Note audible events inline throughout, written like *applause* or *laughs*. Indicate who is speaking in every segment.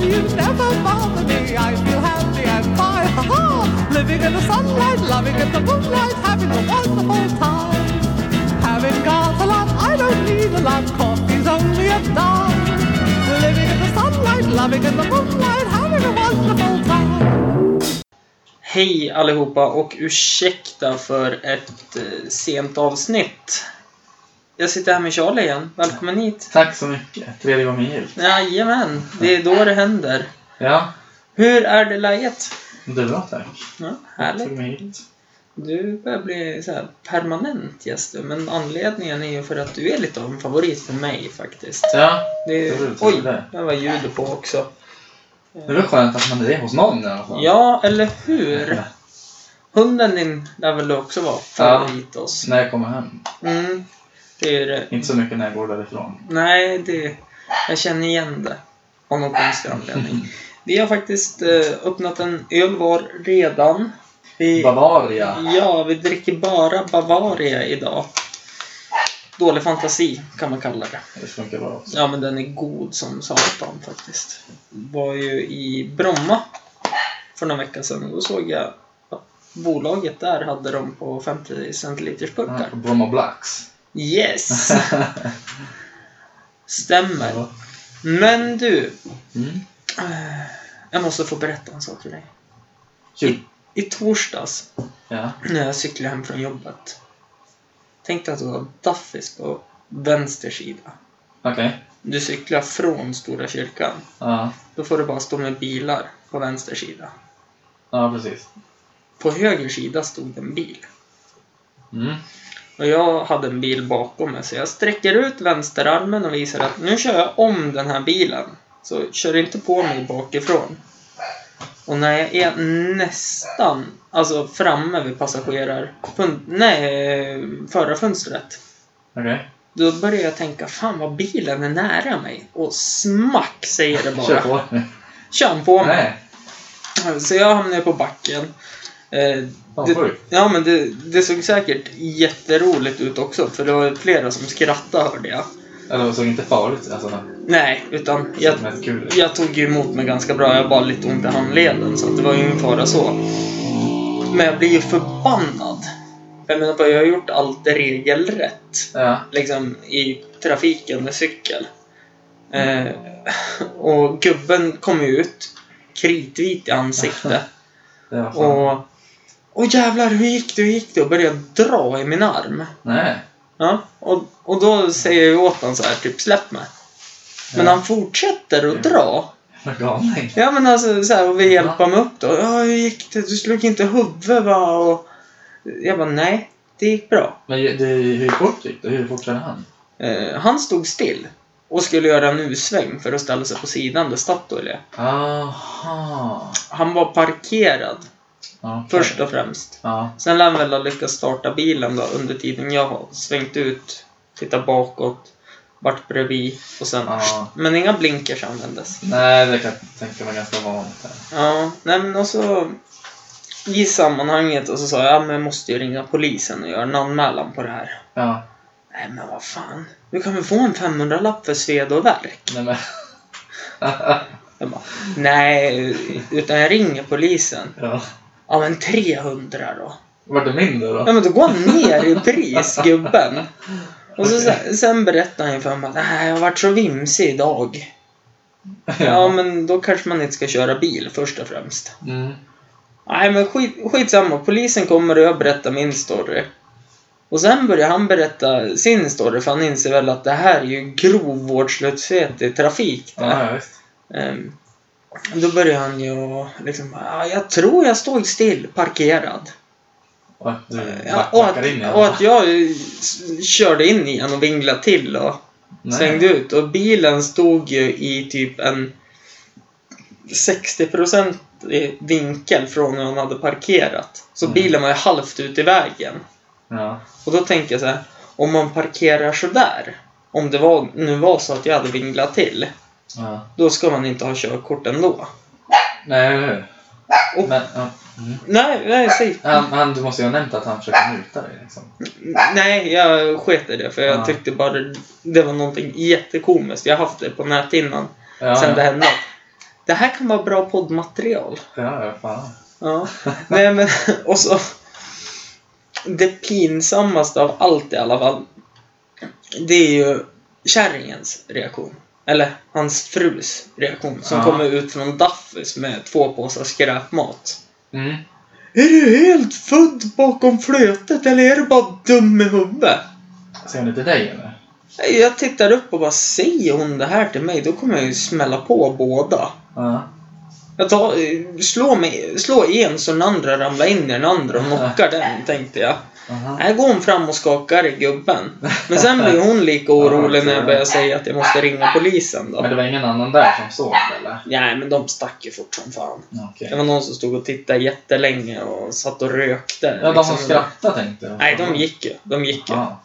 Speaker 1: dreams never bother me. I feel happy and fine. Ha ha! Living in the sunlight, loving in the moonlight, having a wonderful time. Having got a lot, I don't need a lot. Coffee's only a dime. Living in the sunlight, loving in the moonlight, having a wonderful time. *laughs*
Speaker 2: Hej allihopa och ursäkta för ett eh, sent avsnitt. Jag sitter här med Charlie igen. Välkommen hit.
Speaker 3: Tack så mycket. Tredje gången gillt.
Speaker 2: Jajamän, det är då det händer.
Speaker 3: Ja,
Speaker 2: Hur är det läget?
Speaker 3: det är bra tack.
Speaker 2: Ja,
Speaker 3: Tog
Speaker 2: härligt.
Speaker 3: mig hit.
Speaker 2: Du börjar bli så här permanent gäst nu, men anledningen är ju för att du är lite av en favorit för mig faktiskt.
Speaker 3: Ja,
Speaker 2: Det
Speaker 3: Det
Speaker 2: är,
Speaker 3: var
Speaker 2: oj,
Speaker 3: det.
Speaker 2: där var ljudet på också.
Speaker 3: det var skönt att man är hos någon i alla fall.
Speaker 2: Ja, eller hur? Hunden din lär väl också vara favorit oss.
Speaker 3: När jag kommer hem.
Speaker 2: Mm, det är det.
Speaker 3: Inte så mycket när jag går därifrån.
Speaker 2: Nej, det, jag känner igen det. Av någon konstig anledning. Vi har faktiskt eh, öppnat en öl var redan. Vi,
Speaker 3: Bavaria.
Speaker 2: ja, vi dricker bara Bavaria idag. Dålig fantasi kan man kalla det.
Speaker 3: Det funkar bra också.
Speaker 2: Ja, men den är god som satan faktiskt. Var ju i Bromma för några veckor sedan och då såg jag att bolaget där hade dem på 50 centiliters
Speaker 3: Ja,
Speaker 2: burkar.
Speaker 3: på Bromma Blacks.
Speaker 2: Yes! Stämmer.
Speaker 3: Ja.
Speaker 2: Men du,
Speaker 3: Mm.
Speaker 2: Eh, Jag måste få berätta en sak för dig.
Speaker 3: Kul.
Speaker 2: I torsdags,
Speaker 3: Ja.
Speaker 2: när jag cyklade hem från jobbet, tänkte att du var Duffys på vänster sida.
Speaker 3: Okej.
Speaker 2: Du cyklar från Stora kyrkan.
Speaker 3: Ja.
Speaker 2: Då får du bara stå med bilar på vänster sida.
Speaker 3: ja, precis.
Speaker 2: På höger sida stod en bil.
Speaker 3: Mm.
Speaker 2: Och jag hade en bil bakom mig, så jag sträcker ut vänsterarmen och visar att nu kör jag om den här bilen. Så kör inte på mig bakifrån. Och när jag är nästan, alltså framme vid passagerar... Fun, nej, förarfönstret.
Speaker 3: Okej.
Speaker 2: Då börjar jag tänka, fan vad bilen är nära mig. Och smack säger det bara.
Speaker 3: Kör på.
Speaker 2: Kör han på mig.
Speaker 3: Nej.
Speaker 2: Så jag hamnade på backen. Eh,
Speaker 3: Fan,
Speaker 2: det-
Speaker 3: sjukt.
Speaker 2: Ja men det, det såg säkert jätteroligt ut också för det var flera som skrattade hörde jag.
Speaker 3: Eller det såg inte farligt ut. Alltså, det
Speaker 2: Nej, utan jag,
Speaker 3: såg mest kul ut.
Speaker 2: jag tog ju emot mig ganska bra. Jag har bara lite ont i handleden så att det var ju ingen fara så. Men jag blir ju förbannad. Jag menar på, jag har gjort allt regelrätt.
Speaker 3: Ja.
Speaker 2: Liksom i trafiken med cykel. Eh, och gubben kom ju ut kritvit i ansiktet.
Speaker 3: Det var fan.
Speaker 2: Och... Åh jävlar, hur gick det? Hur gick det? Och började dra i min arm.
Speaker 3: Nej.
Speaker 2: Ja, och, och då säger jag åt honom så här, typ släpp mig. Men
Speaker 3: Ja.
Speaker 2: han fortsätter att dra.
Speaker 3: Vad galning.
Speaker 2: Ja men alltså så här, och vi hjälper honom upp då. Ja, hur gick det? Du slog inte huvudet va? Och jag bara, nej, det gick bra.
Speaker 3: Men det, hur fort gick det? Hur fort körde han?
Speaker 2: Eh, han stod still och skulle göra en U-sväng för att ställa sig på sidan där Statoil är.
Speaker 3: Aha.
Speaker 2: Han var parkerad,
Speaker 3: Okay.
Speaker 2: först och främst.
Speaker 3: Ja.
Speaker 2: Sen lär han väl ha lyckats starta bilen då under tiden jag har svängt ut, tittat bakåt, varit bredvid och sen...
Speaker 3: ja.
Speaker 2: Men inga blinkers användes.
Speaker 3: Nej, det kan jag tänka mig ganska vanligt. Här.
Speaker 2: Ja, nej men och så... I sammanhanget och så sa jag, ja men jag måste ju ringa polisen och göra en anmälan på det här.
Speaker 3: Ja.
Speaker 2: Nej men vad fan, du kan väl få en 500-lapp för sved och värk?
Speaker 3: Nej, men... *laughs*
Speaker 2: Jag bara, nej, utan jag ringer polisen.
Speaker 3: ja.
Speaker 2: Ja men 300 då.
Speaker 3: Vart det mindre då?
Speaker 2: Ja men då går han ner i pris, gubben. Och så, sen, sen berättar han ju för mig att "Nej, jag har varit så vimsig idag. Ja men då kanske man inte ska köra bil först och främst.
Speaker 3: Mm.
Speaker 2: Nej men skit, skitsamma, polisen kommer och jag berättar min story. Och sen börjar han berätta sin story för han inser väl att det här är ju grov vårdslöshet i trafik. det.
Speaker 3: Ja, ja, visst.
Speaker 2: Ehm, då börjar han ju liksom, "Ja, jag tror jag stod still, parkerad.
Speaker 3: Och att du
Speaker 2: Ja, och, att,
Speaker 3: Eh, backar in i
Speaker 2: och att jag eh, s- körde in i den och vinglade till och
Speaker 3: Nej.
Speaker 2: svängde ut. Och bilen stod ju i typ en 60% i vinkel från hur han hade parkerat. Så
Speaker 3: Mm.
Speaker 2: bilen var ju halvt ut i vägen.
Speaker 3: Ja.
Speaker 2: Och då tänkte jag så här, om man parkerar sådär, om det var, nu var så att jag hade vinglat till,
Speaker 3: ja.
Speaker 2: då ska man inte ha körkort ändå.
Speaker 3: Nej, eller hur?
Speaker 2: Och-
Speaker 3: Men, ja. mm.
Speaker 2: Nej, nej, säg.
Speaker 3: han, han, du måste ju ha nämnt att han försöker muta dig liksom.
Speaker 2: Nej, jag sket i det för jag
Speaker 3: Ja.
Speaker 2: tyckte bara det var någonting jättekomiskt. Jag har haft det på nät innan.
Speaker 3: Ja,
Speaker 2: sen
Speaker 3: ja.
Speaker 2: det hände. Det här kan vara bra poddmaterial.
Speaker 3: Ja, ja, fan.
Speaker 2: Ja. Nej men, *laughs* och så... Det pinsammaste av allt i alla fall. Det är ju kärringens reaktion. Eller hans frus reaktion. Som
Speaker 3: Ja.
Speaker 2: kommer ut från Daffys med två påsar skräpmat.
Speaker 3: Mm.
Speaker 2: Är du helt född bakom flötet eller är du bara dum i huvudet?
Speaker 3: Säger hon inte dig eller?
Speaker 2: Jag tittar upp och bara, säger hon det här till mig då kommer jag ju smälla på båda.
Speaker 3: Ja.
Speaker 2: Jag tar, eh, slå, mig, slå en så den andra ramlar in i den andra och knockar
Speaker 3: *laughs*
Speaker 2: den, tänkte jag.
Speaker 3: Aha.
Speaker 2: Här går hon fram och skakar i gubben. Men sen
Speaker 3: *laughs*
Speaker 2: blir hon lika orolig när jag börjar säga att jag måste ringa polisen då.
Speaker 3: Men det var ingen annan där som såg det eller?
Speaker 2: Nej, men de stack ju fort som fan.
Speaker 3: Ja, Okej.
Speaker 2: Det var någon som stod och tittade jättelänge och satt och rökte.
Speaker 3: Ja, de som
Speaker 2: liksom.
Speaker 3: skrattade tänkte jag.
Speaker 2: Nej, de gick ju. De gick ju.
Speaker 3: Ja.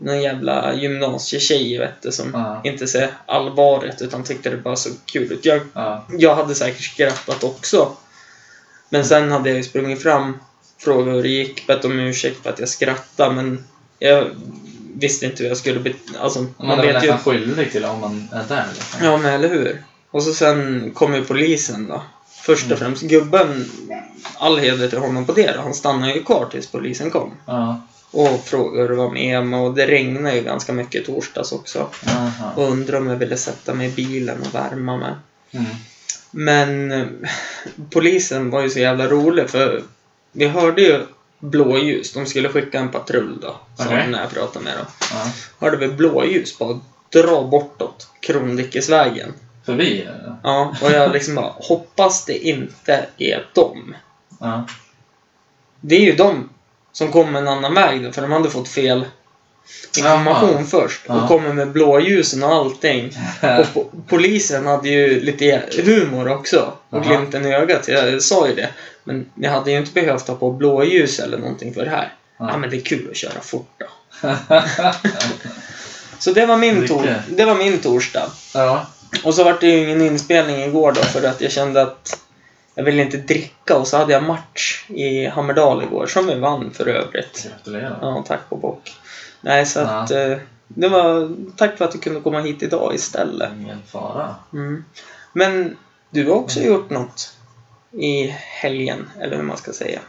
Speaker 2: Någon jävla gymnasietjej vet du, som
Speaker 3: Ja.
Speaker 2: inte ser allvaret utan tyckte det bara såg kul ut. Jag
Speaker 3: Ja.
Speaker 2: jag hade säkert skrattat också.
Speaker 3: Mm.
Speaker 2: Men sen hade jag ju sprungit fram, frågat hur det gick, bett om ursäkt för att jag skrattade, men jag visste inte hur jag skulle bete Alltså,
Speaker 3: Man,
Speaker 2: man
Speaker 3: är väl
Speaker 2: vet ju.
Speaker 3: nästan skyldig till om man är där liksom.
Speaker 2: Ja, men eller hur? Och så sen kom ju polisen då. Först och
Speaker 3: Mm.
Speaker 2: främst, gubben, all heder till honom på det då. Han stannade ju kvar tills polisen kom.
Speaker 3: Ja.
Speaker 2: Och frågade hur det var med Emma och det regnade ju ganska mycket i torsdags också.
Speaker 3: Aha.
Speaker 2: Och undrade om jag ville sätta mig i bilen och värma mig.
Speaker 3: Mm.
Speaker 2: Men eh, polisen var ju så jävla rolig för vi hörde ju blåljus. De skulle skicka en patrull då, sa
Speaker 3: Okej.
Speaker 2: de när jag pratade med dem.
Speaker 3: Ja.
Speaker 2: Hörde vi blåljus bara dra bortåt Krondikesvägen.
Speaker 3: Förbi eller?
Speaker 2: Ja, och jag liksom bara *laughs* hoppas det inte är dem.
Speaker 3: Ja.
Speaker 2: Det är ju dem som kom en annan väg då, för de hade fått fel information
Speaker 3: Jaha.
Speaker 2: först och
Speaker 3: Ja.
Speaker 2: kommer med blåljusen och allting. Och po- polisen hade ju lite humor också och
Speaker 3: Aha.
Speaker 2: glimten i ögat. Jag sa ju det. Men ni hade ju inte behövt ha på blåljus eller någonting för det här. Ja,
Speaker 3: Ja.
Speaker 2: men det är kul att köra fort då. Så det var min,
Speaker 3: Lycka.
Speaker 2: tor- det var min torsdag.
Speaker 3: *laughs* ja.
Speaker 2: Och så var det ju ingen inspelning igår då för att jag kände att jag ville inte dricka och så hade jag match i Hammerdal igår som vi vann för övrigt.
Speaker 3: Gratulerar.
Speaker 2: Ja, tack och bock. Nej, så
Speaker 3: Ja.
Speaker 2: att eh, det var tack för att du kunde komma hit idag istället.
Speaker 3: Ingen fara.
Speaker 2: Mm. Men du har också gjort något i helgen, eller hur man ska säga.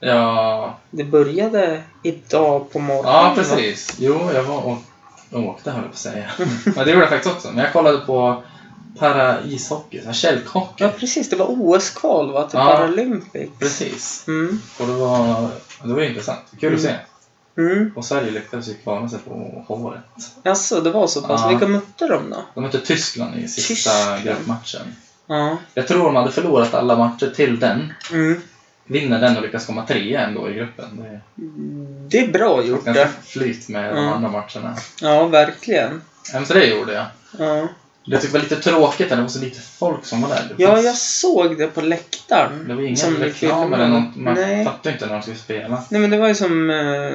Speaker 3: Ja,
Speaker 2: Det började idag på morgonen.
Speaker 3: ja
Speaker 2: va?
Speaker 3: precis. Jo, jag var och och åkte höll jag på
Speaker 2: *laughs*
Speaker 3: att säga. Men det gjorde jag faktiskt också. Men jag kollade på para ishockey, så här kälkhockey.
Speaker 2: Ja, precis. Det var OS-kval, va? Till
Speaker 3: Ja.
Speaker 2: Paralympics.
Speaker 3: Precis.
Speaker 2: Mm.
Speaker 3: Och det var, det var intressant. Kul att se.
Speaker 2: Mm.
Speaker 3: Och Sverige lyckades ju kvala sig på håret.
Speaker 2: Alltså, det var så pass.
Speaker 3: Ja.
Speaker 2: Vilka mötte de då?
Speaker 3: De mötte Tyskland i sista
Speaker 2: Tyskland.
Speaker 3: gruppmatchen.
Speaker 2: Ja.
Speaker 3: Jag tror de hade förlorat alla matcher till den.
Speaker 2: Mm.
Speaker 3: Vinner den och lyckas komma trea ändå i gruppen. Det är
Speaker 2: Det är bra gjort
Speaker 3: ganska
Speaker 2: det.
Speaker 3: flyt med de
Speaker 2: Mm.
Speaker 3: andra matcherna.
Speaker 2: Ja, verkligen.
Speaker 3: Ja, Men så det gjorde jag.
Speaker 2: Ja.
Speaker 3: Det tyckte jag var lite tråkigt att det var så lite folk som var där. Det
Speaker 2: ja,
Speaker 3: fanns-
Speaker 2: jag såg det på läktaren.
Speaker 3: Det var ingen
Speaker 2: som det
Speaker 3: reklam eller
Speaker 2: filmade.
Speaker 3: något. Man
Speaker 2: Nej.
Speaker 3: fattade inte när de skulle spela.
Speaker 2: Nej, men det var ju som eh,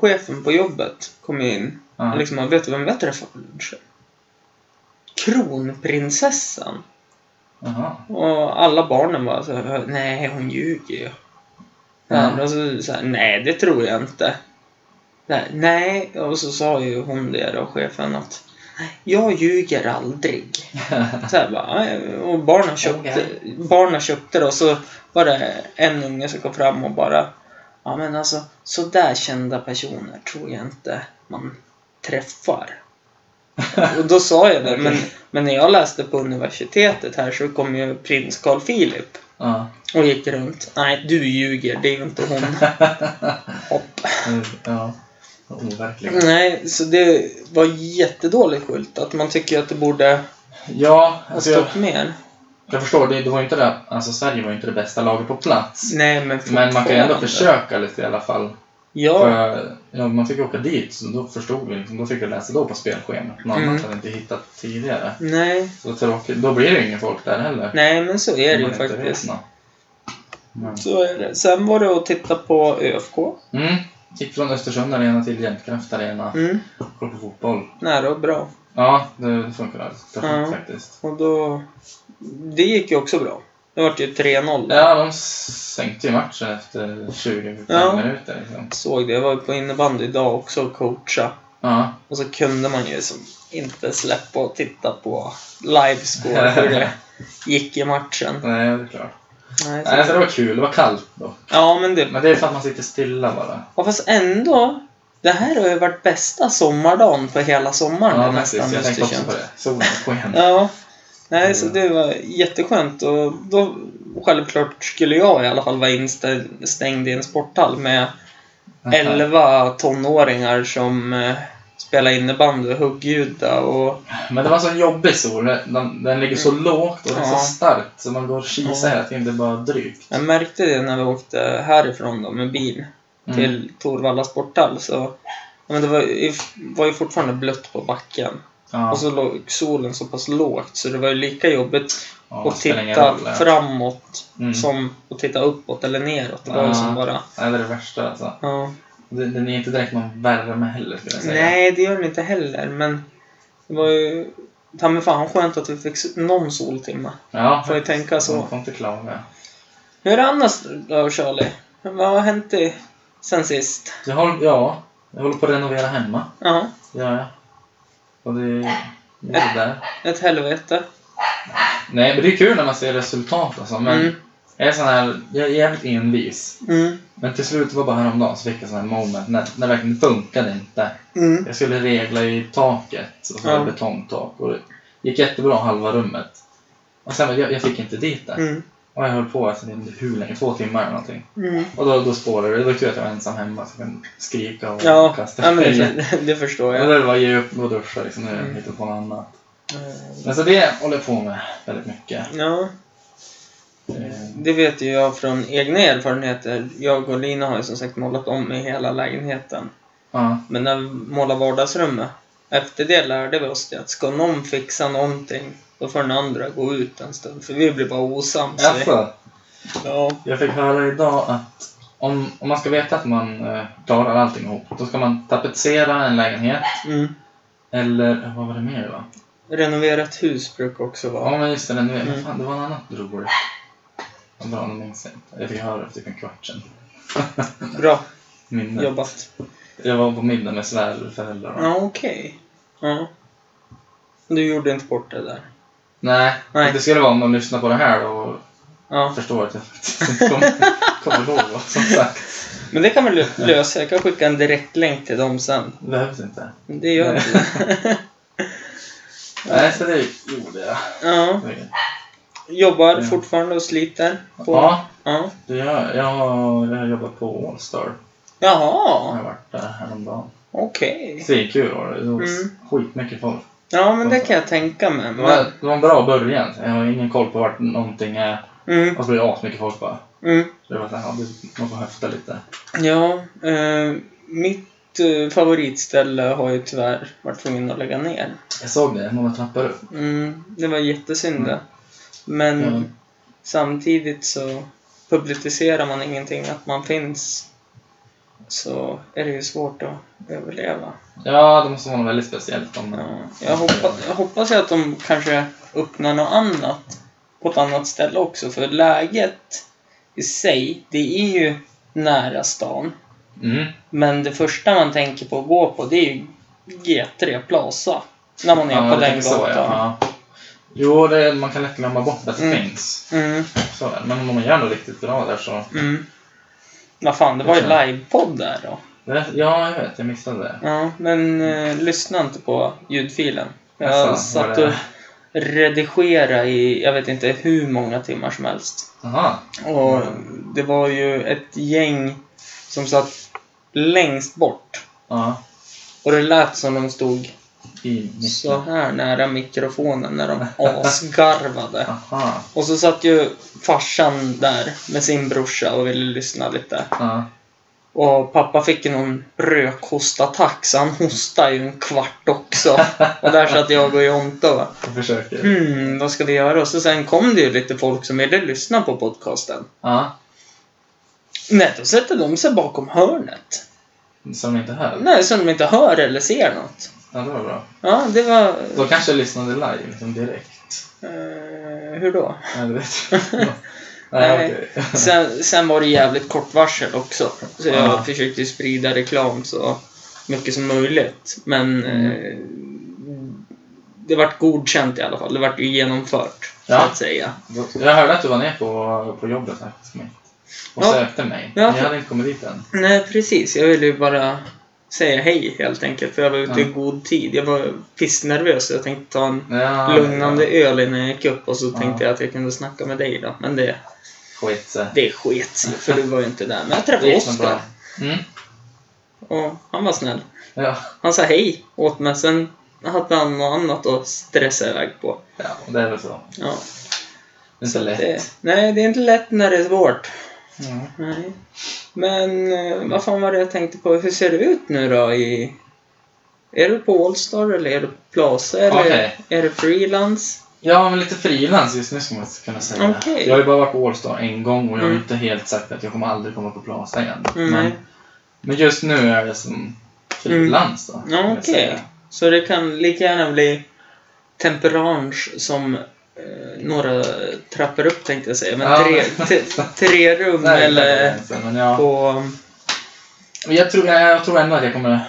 Speaker 2: chefen på jobbet kom in
Speaker 3: Ja.
Speaker 2: Och liksom, bara, vet du vem jag träffade på lunchen? Kronprinsessan.
Speaker 3: Jaha.
Speaker 2: Och alla barnen var så här, nej hon ljuger ju.
Speaker 3: Ja.
Speaker 2: Mm. Och så, så här, nej det tror jag inte. Nej, nej, och så sa ju hon det då, chefen, att jag ljuger
Speaker 3: *laughs*
Speaker 2: aldrig. Så här bara, "Nej." och barnen köpte, barnen köpte det och så var det en unge som kom fram och bara Ja men alltså, så där kända personer tror jag inte man träffar.
Speaker 3: *laughs*
Speaker 2: Och då sa jag det, men, men när jag läste på universitetet här så kom ju prins Carl Philip
Speaker 3: Ja. *laughs*
Speaker 2: och gick runt. Nej, du ljuger, det är ju inte hon. Hopp.
Speaker 3: Mm, ja. Overkligt.
Speaker 2: Nej, så det var jättedåligt skyltat. Man tycker ju att det borde
Speaker 3: Ja,
Speaker 2: ha
Speaker 3: alltså jag,
Speaker 2: stått mer.
Speaker 3: jag förstår. Det, det var ju inte det. Alltså Sverige var ju inte det bästa laget på plats.
Speaker 2: Nej, men
Speaker 3: Men man kan ju ändå
Speaker 2: fortfarande.
Speaker 3: försöka lite i alla fall.
Speaker 2: Ja,
Speaker 3: För, ja, man fick åka dit, så då förstod vi. Liksom, då fick vi läsa då på spelschemat. Något
Speaker 2: Mm.
Speaker 3: annat hade inte hittat tidigare.
Speaker 2: nej.
Speaker 3: Så tråkigt. Då blir det ju ingen folk där heller.
Speaker 2: Nej, men så är det
Speaker 3: Om
Speaker 2: ju
Speaker 3: man inte vet
Speaker 2: faktiskt.
Speaker 3: något. Men-
Speaker 2: Så är det. Sen var det att titta på ÖFK.
Speaker 3: Mm. Gick från Östersund Arena till Jämtkraft Arena.
Speaker 2: Mm.
Speaker 3: Kollade på fotboll.
Speaker 2: Nära och bra.
Speaker 3: Ja, det funkar alldeles perfekt
Speaker 2: Ja.
Speaker 3: faktiskt.
Speaker 2: Och då... Det gick ju också bra. Det vart ju 3-0.
Speaker 3: Ja, de sänkte ju matchen efter 20
Speaker 2: Ja.
Speaker 3: minuter. Liksom.
Speaker 2: Såg det. Jag var ju på innebandy idag också och coacha.
Speaker 3: Ja. *laughs*
Speaker 2: Och så kunde man ju som inte släppa och titta på livescore hur det gick i matchen.
Speaker 3: Nej, det är klart.
Speaker 2: Nej,
Speaker 3: Nej,
Speaker 2: så...
Speaker 3: så det var kul. Det var kallt då.
Speaker 2: Ja, men det...
Speaker 3: Men det är för att man sitter stilla bara.
Speaker 2: Ja, fast ändå. Det här har ju varit bästa sommardagen för hela sommaren
Speaker 3: Ja,
Speaker 2: nästan.
Speaker 3: precis. Jag tänkte också
Speaker 2: känns.
Speaker 3: på det. Mm. Solen sken.
Speaker 2: Ja. Nej, så det var jätteskönt och då självklart skulle jag i alla fall vara instängd i en sporthall med elva tonåringar som eh, spelar innebandy och huggjuda och...
Speaker 3: Men det var en sån jobbig sol. Den, den ligger så lågt och det är
Speaker 2: Mm. Ja.
Speaker 3: så starkt så man går och kisar
Speaker 2: Ja.
Speaker 3: hela tiden. Det är bara drygt.
Speaker 2: Jag märkte det när vi åkte härifrån då med bil
Speaker 3: Mm.
Speaker 2: till Torvalla sporthall så... ja, Men det var, ju- var ju fortfarande blött på backen.
Speaker 3: Ja.
Speaker 2: Och så låg solen så pass lågt så det var ju lika jobbigt
Speaker 3: Ja, det
Speaker 2: att
Speaker 3: spelar ingen
Speaker 2: titta
Speaker 3: roll.
Speaker 2: framåt
Speaker 3: Mm.
Speaker 2: som att titta uppåt eller neråt. Det var
Speaker 3: Ja.
Speaker 2: ju som bara...
Speaker 3: Nej, det är det värsta alltså.
Speaker 2: Ja.
Speaker 3: Det- Den är inte direkt någon värme heller skulle jag säga.
Speaker 2: Nej, det gör den inte heller, men det var ju... Ta mig fan skönt att vi fick s- någon soltimme.
Speaker 3: Ja,
Speaker 2: Får jag tänka så.
Speaker 3: Man får inte klaga.
Speaker 2: Hur är det annars då, Charlie? Vad har hänt i, sen sist?
Speaker 3: Jag håller, ja, jag håller på att renovera hemma.
Speaker 2: Ja,
Speaker 3: Det gör jag. Och det, det är det där.
Speaker 2: ett helvete.
Speaker 3: Nej, men det är kul när man ser resultat alltså. Men
Speaker 2: Mm.
Speaker 3: jag är sån här, jag är jävligt envis.
Speaker 2: Mm.
Speaker 3: Men till slut, det var bara häromdagen, så fick jag sån här moment när, när det verkligen funkade inte.
Speaker 2: Mm.
Speaker 3: Jag skulle regla i taket, och så
Speaker 2: Ja.
Speaker 3: var det betongtak. Och det gick jättebra halva rummet. Och sen, men jag, jag fick inte dit det.
Speaker 2: Mm.
Speaker 3: Och jag höll på alltså, jag vet inte hur länge, två timmar eller någonting.
Speaker 2: Mm.
Speaker 3: Och då, då spårade det. Det var tur att jag var ensam hemma så jag kunde skrika och
Speaker 2: Ja,
Speaker 3: kasta
Speaker 2: ja men
Speaker 3: grejer.
Speaker 2: det, *laughs* det förstår
Speaker 3: Men
Speaker 2: jag.
Speaker 3: det var ge upp, gå och duscha liksom. Nu
Speaker 2: Mm.
Speaker 3: hittar på något annat.
Speaker 2: Eh,
Speaker 3: Men så det håller jag på med väldigt mycket.
Speaker 2: Ja,
Speaker 3: Eh,
Speaker 2: det vet ju jag från egna erfarenheter. Jag och Lina har ju som sagt målat om i hela lägenheten.
Speaker 3: Ja,
Speaker 2: Men när vi målade vardagsrummet, efter det lärde vi oss det att ska någon fixa någonting, då får den andra gå ut en stund. För vi blir bara osams. vi-
Speaker 3: alltså.
Speaker 2: Ja.
Speaker 3: Jag fick höra idag att om, om man ska veta att man eh, klarar allting ihop, då ska man tapetsera en lägenhet.
Speaker 2: Mm.
Speaker 3: Eller vad var det mer då?
Speaker 2: Renoverat hus brukar också vara.
Speaker 3: Ja, men just det. Den,
Speaker 2: Mm.
Speaker 3: fan, det var något annat roligt. Vad bra, nu minns jag inte. Jag fick höra det typ en kvart *laughs* sedan.
Speaker 2: Bra
Speaker 3: Minnet.
Speaker 2: jobbat.
Speaker 3: Jag var på middag med svärföräldrar. va?
Speaker 2: Mm. Ja, okej. Ja. Du gjorde inte bort det där.
Speaker 3: Nej,
Speaker 2: Nej.
Speaker 3: det skulle vara om de lyssnar på det här och
Speaker 2: Ja.
Speaker 3: förstår att jag faktiskt inte kommer, kommer ihåg vad som sagt.
Speaker 2: Men det kan vi lö- lösa. Jag kan skicka en direktlänk till dem sen.
Speaker 3: Det behövs inte.
Speaker 2: Men Det gör
Speaker 3: Nej.
Speaker 2: inte det.
Speaker 3: Nej, så det gjorde jag.
Speaker 2: *laughs* Ja.
Speaker 3: Det-
Speaker 2: Jobbar
Speaker 3: Ja.
Speaker 2: fortfarande och sliter. På.
Speaker 3: Ja,
Speaker 2: ja.
Speaker 3: det gör jag. Jag har, jag har jobbat på Allstar. Jag
Speaker 2: Jaha.
Speaker 3: har varit där häromdagen.
Speaker 2: Okej.
Speaker 3: Svinkul var det. Det var
Speaker 2: Mm.
Speaker 3: skitmycket folk.
Speaker 2: Ja, men det kan jag tänka mig.
Speaker 3: Det var,
Speaker 2: Men...
Speaker 3: det var en bra början. Jag har ingen koll på vart någonting är.
Speaker 2: Mm,
Speaker 3: Och så blir det asmycket folk bara.
Speaker 2: mm.
Speaker 3: Det var så här, ja, det- man får höfta lite.
Speaker 2: Ja, eh, mitt eh, favoritställe har ju tyvärr varit tvungen att lägga ner.
Speaker 3: Jag såg det, några trappor upp.
Speaker 2: Mm, det var jättesynd det. Men
Speaker 3: Mm.
Speaker 2: samtidigt så publicerar man ingenting att man finns så är det ju svårt att överleva.
Speaker 3: Ja, det måste vara något väldigt speciellt om
Speaker 2: Ja, jag, hoppas, jag hoppas ju att de kanske öppnar något annat på ett annat ställe också för läget i sig, det är ju nära stan.
Speaker 3: Mm.
Speaker 2: Men det första man tänker på att gå på det är ju G3 Plaza. När man är på
Speaker 3: det
Speaker 2: den
Speaker 3: är typ så,
Speaker 2: gatan.
Speaker 3: ja. Ja. Jo, det, är- man kan lätt glömma bort att det
Speaker 2: Mm.
Speaker 3: finns.
Speaker 2: Mm,
Speaker 3: Så är det. Men om man gör något riktigt bra där så...
Speaker 2: mm. Vad fan, det var ju livepodd där då.
Speaker 3: Det, ja, jag vet. Jag missade det.
Speaker 2: Ja, men eh, lyssna inte på ljudfilen. Jag
Speaker 3: Jaså, var
Speaker 2: satt
Speaker 3: det-
Speaker 2: och redigerade i jag vet inte hur många timmar som helst.
Speaker 3: Aha.
Speaker 2: Och det var ju ett gäng som satt längst bort.
Speaker 3: Ja.
Speaker 2: Och det lät som de stod
Speaker 3: I mitten.
Speaker 2: så här nära mikrofonen när de asgarvade.
Speaker 3: Aha.
Speaker 2: Och så satt ju farsan där med sin brorsa och ville lyssna lite.
Speaker 3: Ja.
Speaker 2: Och pappa fick ju någon rökhostattack så han hostade ju en kvart också. Och där satt jag och Jonte och
Speaker 3: Jag försöker.
Speaker 2: hmm, vad ska vi göra? Och så sen kom det ju lite folk som ville lyssna på podcasten.
Speaker 3: Ja.
Speaker 2: Nej, då sätter de sig bakom hörnet.
Speaker 3: Som inte höll.
Speaker 2: Nej, så de inte hör eller ser något.
Speaker 3: Ja, det var bra.
Speaker 2: Ja, det var...
Speaker 3: De kanske lyssnade live,
Speaker 2: *laughs*
Speaker 3: liksom direkt.
Speaker 2: Eh, hur då?
Speaker 3: Ja,
Speaker 2: *laughs*
Speaker 3: det vet jag inte. Nej,
Speaker 2: Nej.
Speaker 3: okej.
Speaker 2: Sen, sen var det jävligt kort varsel också. Så jag
Speaker 3: Ja.
Speaker 2: försökte ju sprida reklam så mycket som möjligt.
Speaker 3: Mm.
Speaker 2: Men eh, det vart godkänt i alla fall. Det vart ju genomfört. så
Speaker 3: Ja.
Speaker 2: att säga.
Speaker 3: Jag hörde att du var nere på, på jobbet faktiskt. Mig. Och
Speaker 2: Ja.
Speaker 3: sökte mig.
Speaker 2: Ja.
Speaker 3: Men jag hade inte kommit dit än.
Speaker 2: Nej, precis. Jag ville ju bara säga hej helt enkelt, för jag var ute i
Speaker 3: Ja.
Speaker 2: god tid. Jag var pissnervös, så jag tänkte ta en
Speaker 3: Ja,
Speaker 2: lugnande öl innan jag gick upp och så
Speaker 3: Ja.
Speaker 2: tänkte jag att jag kunde snacka med dig då. Men det,
Speaker 3: Skit sig.
Speaker 2: det sket sig, för du var ju inte där. Men jag träffade
Speaker 3: Det gick nog
Speaker 2: Oskar
Speaker 3: bra. Mm.
Speaker 2: och han var snäll.
Speaker 3: Ja.
Speaker 2: Han sa hej åt mig, sen hade han något annat att stressa iväg på.
Speaker 3: ja, det är väl så.
Speaker 2: Ja,
Speaker 3: Det är inte lätt.
Speaker 2: det, nej, det är inte lätt när det är svårt.
Speaker 3: Mm.
Speaker 2: Nej. Men eh, vad fan var det jag tänkte på? Hur ser det ut nu då i... Är du på Allstar eller är du på Plaza eller
Speaker 3: Okej.
Speaker 2: är du frilans?
Speaker 3: Ja, men lite frilans just nu skulle man kunna säga.
Speaker 2: Okej.
Speaker 3: Jag har ju bara varit på Allstar en gång och jag har ju
Speaker 2: Mm.
Speaker 3: inte helt sagt att jag kommer aldrig komma på Plaza igen.
Speaker 2: Mm.
Speaker 3: Men, men just nu är jag som frilans då. skulle
Speaker 2: Ja,
Speaker 3: jag
Speaker 2: Okej.
Speaker 3: säga.
Speaker 2: Så det kan lika gärna bli temperance som eh, några trappor upp tänkte jag säga. Men
Speaker 3: Ja,
Speaker 2: tre,
Speaker 3: men-
Speaker 2: te, tre rum
Speaker 3: *laughs* Nej, det är
Speaker 2: eller
Speaker 3: inte Men jag,
Speaker 2: på...
Speaker 3: men jag, tror, jag, jag tror ändå att jag kommer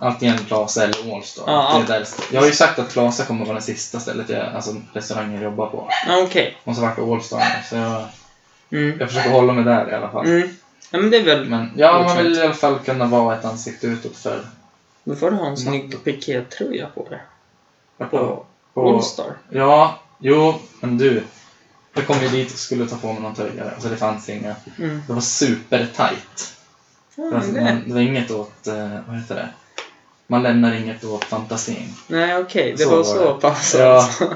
Speaker 3: antingen Plaza eller Allstar.
Speaker 2: Ja,
Speaker 3: Det är där, jag har ju sagt att Plaza kommer vara det sista stället jag, alltså restaurangen jag jobbar på.
Speaker 2: Ja, Okej.
Speaker 3: Och så vart det Allstar nu, så jag,
Speaker 2: Mm.
Speaker 3: jag försöker hålla mig där i alla fall.
Speaker 2: Mm. Ja, men det är väl...
Speaker 3: Men ja, man
Speaker 2: Fortsätt.
Speaker 3: vill i alla fall kunna vara ett ansikte utåt för
Speaker 2: Då får du ha en snygg pikétröja på dig. På,
Speaker 3: på-
Speaker 2: Allstar.
Speaker 3: Ja, jo, men du. Jag kom ju dit och skulle ta på mig någon tröja, alltså det fanns inga.
Speaker 2: Mm.
Speaker 3: Det var supertight.
Speaker 2: Ja,
Speaker 3: Det,
Speaker 2: men
Speaker 3: var-
Speaker 2: det.
Speaker 3: det var inget åt, eh, vad heter det? Man lämnar inget åt fantasin.
Speaker 2: Nej okej, det
Speaker 3: Så
Speaker 2: var
Speaker 3: var
Speaker 2: så
Speaker 3: det.
Speaker 2: pass
Speaker 3: Ja.
Speaker 2: *laughs* alltså.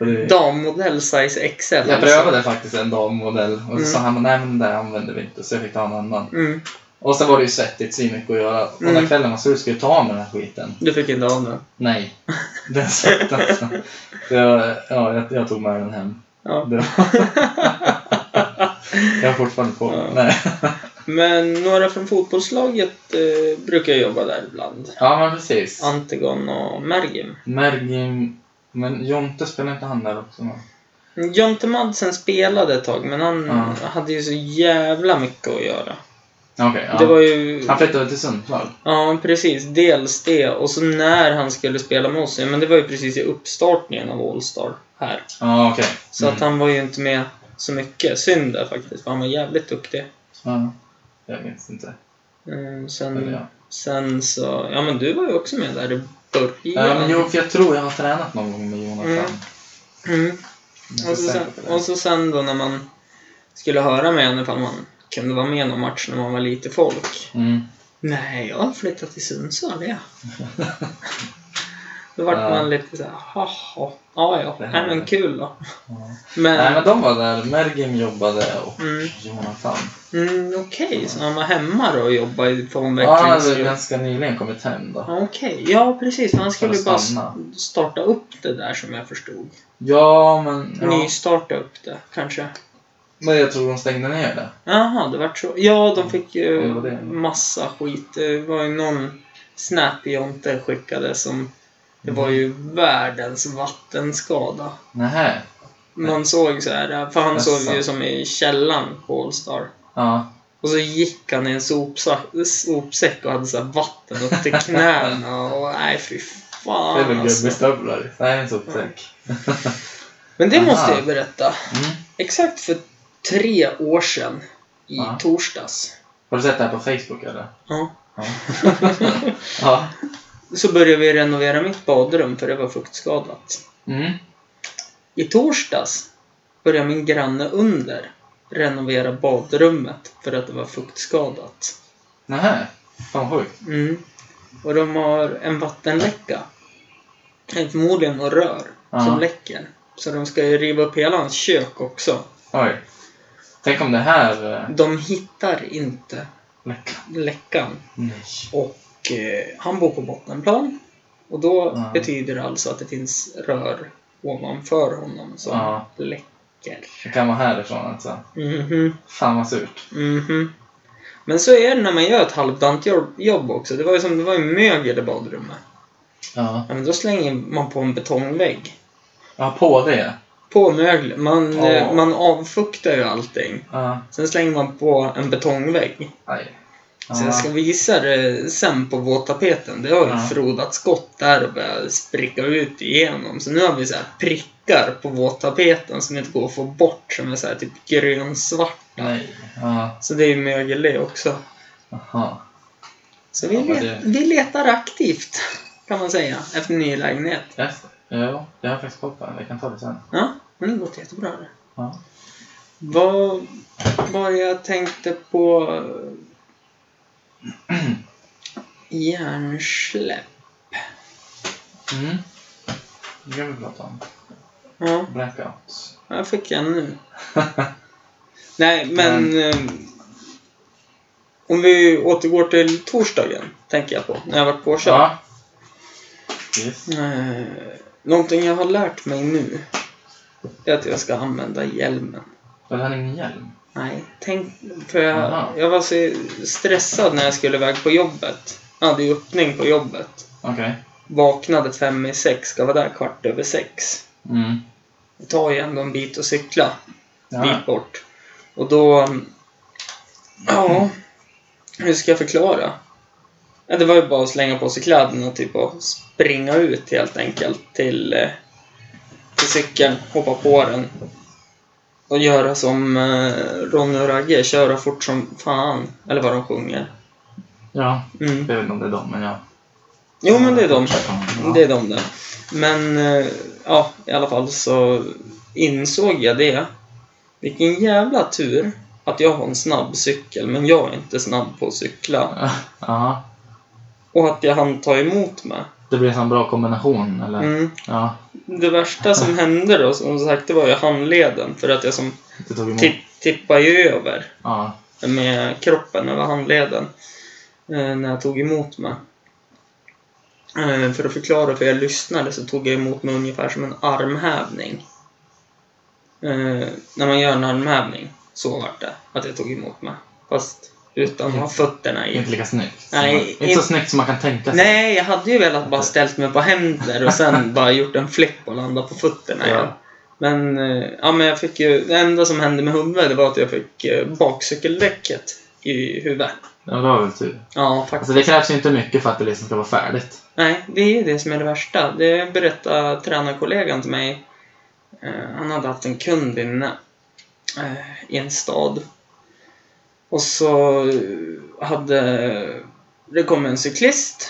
Speaker 3: Och det-
Speaker 2: Dammodell size alltså. XL
Speaker 3: jag prövade faktiskt en dammodell och så
Speaker 2: Mm.
Speaker 3: sa han nej men det där använder vi inte så jag fick ta en annan.
Speaker 2: Mm,
Speaker 3: Och så var det ju svettigt, svinmycket att göra. Och
Speaker 2: Mm.
Speaker 3: när kvällen var slut skulle jag ta av mig den här skiten.
Speaker 2: du fick inte av den. *laughs*
Speaker 3: Nej, den satt alltså. Så jag, ja, jag, jag tog med den hem.
Speaker 2: Ja.
Speaker 3: Det var... *laughs* jag har fortfarande på
Speaker 2: Ja.
Speaker 3: den. Nej.
Speaker 2: Men några från fotbollslaget eh, brukar jobba där ibland.
Speaker 3: Ja, men precis.
Speaker 2: Antigon och Mergim.
Speaker 3: Mergim... Men Jonte spelar inte han där också? va?
Speaker 2: Jonte Madsen spelade ett tag, men han
Speaker 3: Ja.
Speaker 2: hade ju så jävla mycket att göra.
Speaker 3: Okej,
Speaker 2: Det
Speaker 3: ja.
Speaker 2: var ju...
Speaker 3: Han flyttade till Sundsvall?
Speaker 2: Ja, precis. Dels det. Och så när han skulle spela med oss, ja, men det var ju precis i uppstartningen av Allstar här.
Speaker 3: Ja, okej.
Speaker 2: Så
Speaker 3: Mm.
Speaker 2: att han var ju inte med så mycket. Synd där faktiskt, för han var jävligt duktig.
Speaker 3: Ja. Jag minns inte.
Speaker 2: Eh, sen,
Speaker 3: Eller ja.
Speaker 2: sen så... Ja, men du var ju också med där i början.
Speaker 3: Ja, men jo, för jag tror jag har tränat någon gång med Jonathan.
Speaker 2: Mm. Mm.
Speaker 3: Men jag är
Speaker 2: Och, så
Speaker 3: inte
Speaker 2: sen,
Speaker 3: säker på det.
Speaker 2: och så sen då när man skulle höra med henne ifall man kunde vara med i någon match när man var lite folk.
Speaker 3: Mm.
Speaker 2: Nej, jag har flyttat till Sundsvall, ja. Då vart
Speaker 3: Ja.
Speaker 2: man lite såhär, jaha, ja ja,
Speaker 3: Det
Speaker 2: nej
Speaker 3: händer.
Speaker 2: men kul då.
Speaker 3: Ja.
Speaker 2: Men,
Speaker 3: Nej, men de var där. Mergim jobbade och
Speaker 2: Mm.
Speaker 3: Jonathan.
Speaker 2: mm, okej, så han var hemma då och jobbade i
Speaker 3: Ja, han hade väl
Speaker 2: formväxlingsgrupp?
Speaker 3: ganska nyligen kommit hem då.
Speaker 2: Ja, okej. Ja, precis. För han skulle
Speaker 3: För
Speaker 2: ju
Speaker 3: att
Speaker 2: bara
Speaker 3: stanna.
Speaker 2: s- starta upp det där som jag förstod.
Speaker 3: Ja, men... Ja.
Speaker 2: Nystarta upp det, kanske.
Speaker 3: Men jag tror de stängde ner det.
Speaker 2: Jaha, det vart så. Ja, de fick ju
Speaker 3: Mm. Ja, det var det.
Speaker 2: massa skit. Det var ju någon Snap-jonte skickade som... Det
Speaker 3: Mm.
Speaker 2: var ju världens vattenskada.
Speaker 3: Nähä.
Speaker 2: Man såg så här, för han
Speaker 3: Jaså.
Speaker 2: såg ju som i källaren på Allstar.
Speaker 3: Ja.
Speaker 2: Och så gick han i en sopsa- sopsäck och hade så här vatten upp
Speaker 3: *laughs*
Speaker 2: till knäna och nej fy fan
Speaker 3: Det är väl
Speaker 2: alltså.
Speaker 3: gummistövlar? Nej, en sopsäck.
Speaker 2: Men det måste jag
Speaker 3: Aha.
Speaker 2: ju berätta.
Speaker 3: Mm.
Speaker 2: Exakt för tre år sedan i
Speaker 3: Ja.
Speaker 2: torsdags.
Speaker 3: Har du sett det här på Facebook eller?
Speaker 2: Ja.
Speaker 3: Ja. *laughs* ja.
Speaker 2: så började vi renovera mitt badrum för det var fuktskadat.
Speaker 3: Mm.
Speaker 2: I torsdags började min granne under renovera badrummet för att det var fuktskadat.
Speaker 3: Nähä. Fan vad sjukt.
Speaker 2: Mm. Och de har en vattenläcka. Eh, Förmodligen några rör
Speaker 3: Ja.
Speaker 2: som läcker. Så de ska ju riva upp hela hans kök också.
Speaker 3: Oj. Tänk om det här... eh,
Speaker 2: De hittar inte
Speaker 3: läcker.
Speaker 2: läckan.
Speaker 3: Nej.
Speaker 2: Och eh, han bor på bottenplan. Och då
Speaker 3: Ja.
Speaker 2: betyder det alltså att det finns rör ovanför honom som
Speaker 3: Ja.
Speaker 2: läcker.
Speaker 3: Det kan vara härifrån alltså.
Speaker 2: Mhm,
Speaker 3: Fan vad surt.
Speaker 2: mhm. Men så är det när man gör ett halvdant jobb- jobb också. Det var ju som det var ju mögel i badrummet.
Speaker 3: Ja.
Speaker 2: Ja, men då slänger man på en betongvägg.
Speaker 3: Ja, på det.
Speaker 2: På mögel. Man,
Speaker 3: Ja.
Speaker 2: eh, man avfuktar ju allting.
Speaker 3: Ja.
Speaker 2: Sen slänger man på en betongvägg.
Speaker 3: Aj.
Speaker 2: Så jag ska visa det sen på våttapeten. Det har ju
Speaker 3: Ja.
Speaker 2: frodats gott där och börjat spricka ut igenom. Så nu har vi så här prickar på våttapeten som inte går att få bort som är så här typ grönsvarta.
Speaker 3: Nej. Ja.
Speaker 2: Så det är ju mögel det också.
Speaker 3: Aha.
Speaker 2: Så vi,
Speaker 3: Ja, men
Speaker 2: let,
Speaker 3: det-
Speaker 2: vi letar aktivt kan man säga efter ny lägenhet.
Speaker 3: Ja, ja, jag har faktiskt koll på den. Jag kan ta det sen.
Speaker 2: Ja, men det låter jättebra det.
Speaker 3: Ja.
Speaker 2: Vad var det jag tänkte på? eh, Hjärnsläpp.
Speaker 3: Mm. Det kan vi prata om.
Speaker 2: Ja,
Speaker 3: Blackout.
Speaker 2: jag fick en nu. Nej, men... eh, Om vi återgår till torsdagen, tänker jag på, när jag var påkörd.
Speaker 3: ja. Yes.
Speaker 2: Eh, Någonting jag har lärt mig nu, det är att jag ska använda hjälmen.
Speaker 3: Var det här min hjälm?
Speaker 2: Nej, tänk, för jag,
Speaker 3: Aha.
Speaker 2: jag var så stressad när jag skulle iväg på jobbet. Jag hade ju öppning på jobbet.
Speaker 3: Okej.
Speaker 2: Vaknade fem i sex, ska vara där kvart över sex.
Speaker 3: Mm.
Speaker 2: Det tar ju ändå en bit att cykla
Speaker 3: Ja.
Speaker 2: dit bort. Och då... mm, Ja, hur ska jag förklara? Ja, det var ju bara att slänga på sig kläderna typ och springa ut helt enkelt till, eh, till cykeln, hoppa på den. Och göra som eh, Ronny och Ragge, köra fort som fan. Eller vad de sjunger.
Speaker 3: ja.
Speaker 2: Mm.
Speaker 3: Jag vet inte om det är dem, men ja.
Speaker 2: Jo men det är de.
Speaker 3: Ja.
Speaker 2: Det är de där. Men eh, ja, i alla fall så insåg jag det. Vilken jävla tur att jag har en snabb cykel, men jag är inte snabb på att cykla.
Speaker 3: Ja.
Speaker 2: Och att jag hann ta emot mig.
Speaker 3: Det blir en sån bra kombination, eller?
Speaker 2: Mm.
Speaker 3: Ja.
Speaker 2: Det värsta som hände då, som sagt, det var ju handleden. För att jag som
Speaker 3: Det tog emot.
Speaker 2: tipp, tippade ju över
Speaker 3: Ja.
Speaker 2: med kroppen över handleden. eh, När jag tog emot mig. Eh, För att förklara för er lyssnare så tog jag emot mig ungefär som en armhävning. Eh, När man gör en armhävning, så vart det. Att jag tog emot mig. Fast utan att ha fötterna i.
Speaker 3: Inte lika snyggt. som
Speaker 2: Nej,
Speaker 3: man, inte
Speaker 2: in-
Speaker 3: så snyggt som man kan tänka sig.
Speaker 2: Nej, jag hade ju velat bara ställt mig på händer och sen
Speaker 3: *laughs*
Speaker 2: bara gjort en flipp och landat på fötterna
Speaker 3: Ja.
Speaker 2: igen. Men, eh, ja, men jag fick ju, det enda som hände med huvudet det var att jag fick eh, bakcykeldäcket i huvudet.
Speaker 3: Ja, det var väl tur.
Speaker 2: Ja, faktiskt.
Speaker 3: Alltså, det krävs ju inte mycket för att det liksom ska vara färdigt.
Speaker 2: Nej, det är ju det som är det värsta. Det berättade tränarkollegan till mig. Eh, han hade haft en kund inne eh, i en stad. Och så eh, hade det kom en cyklist.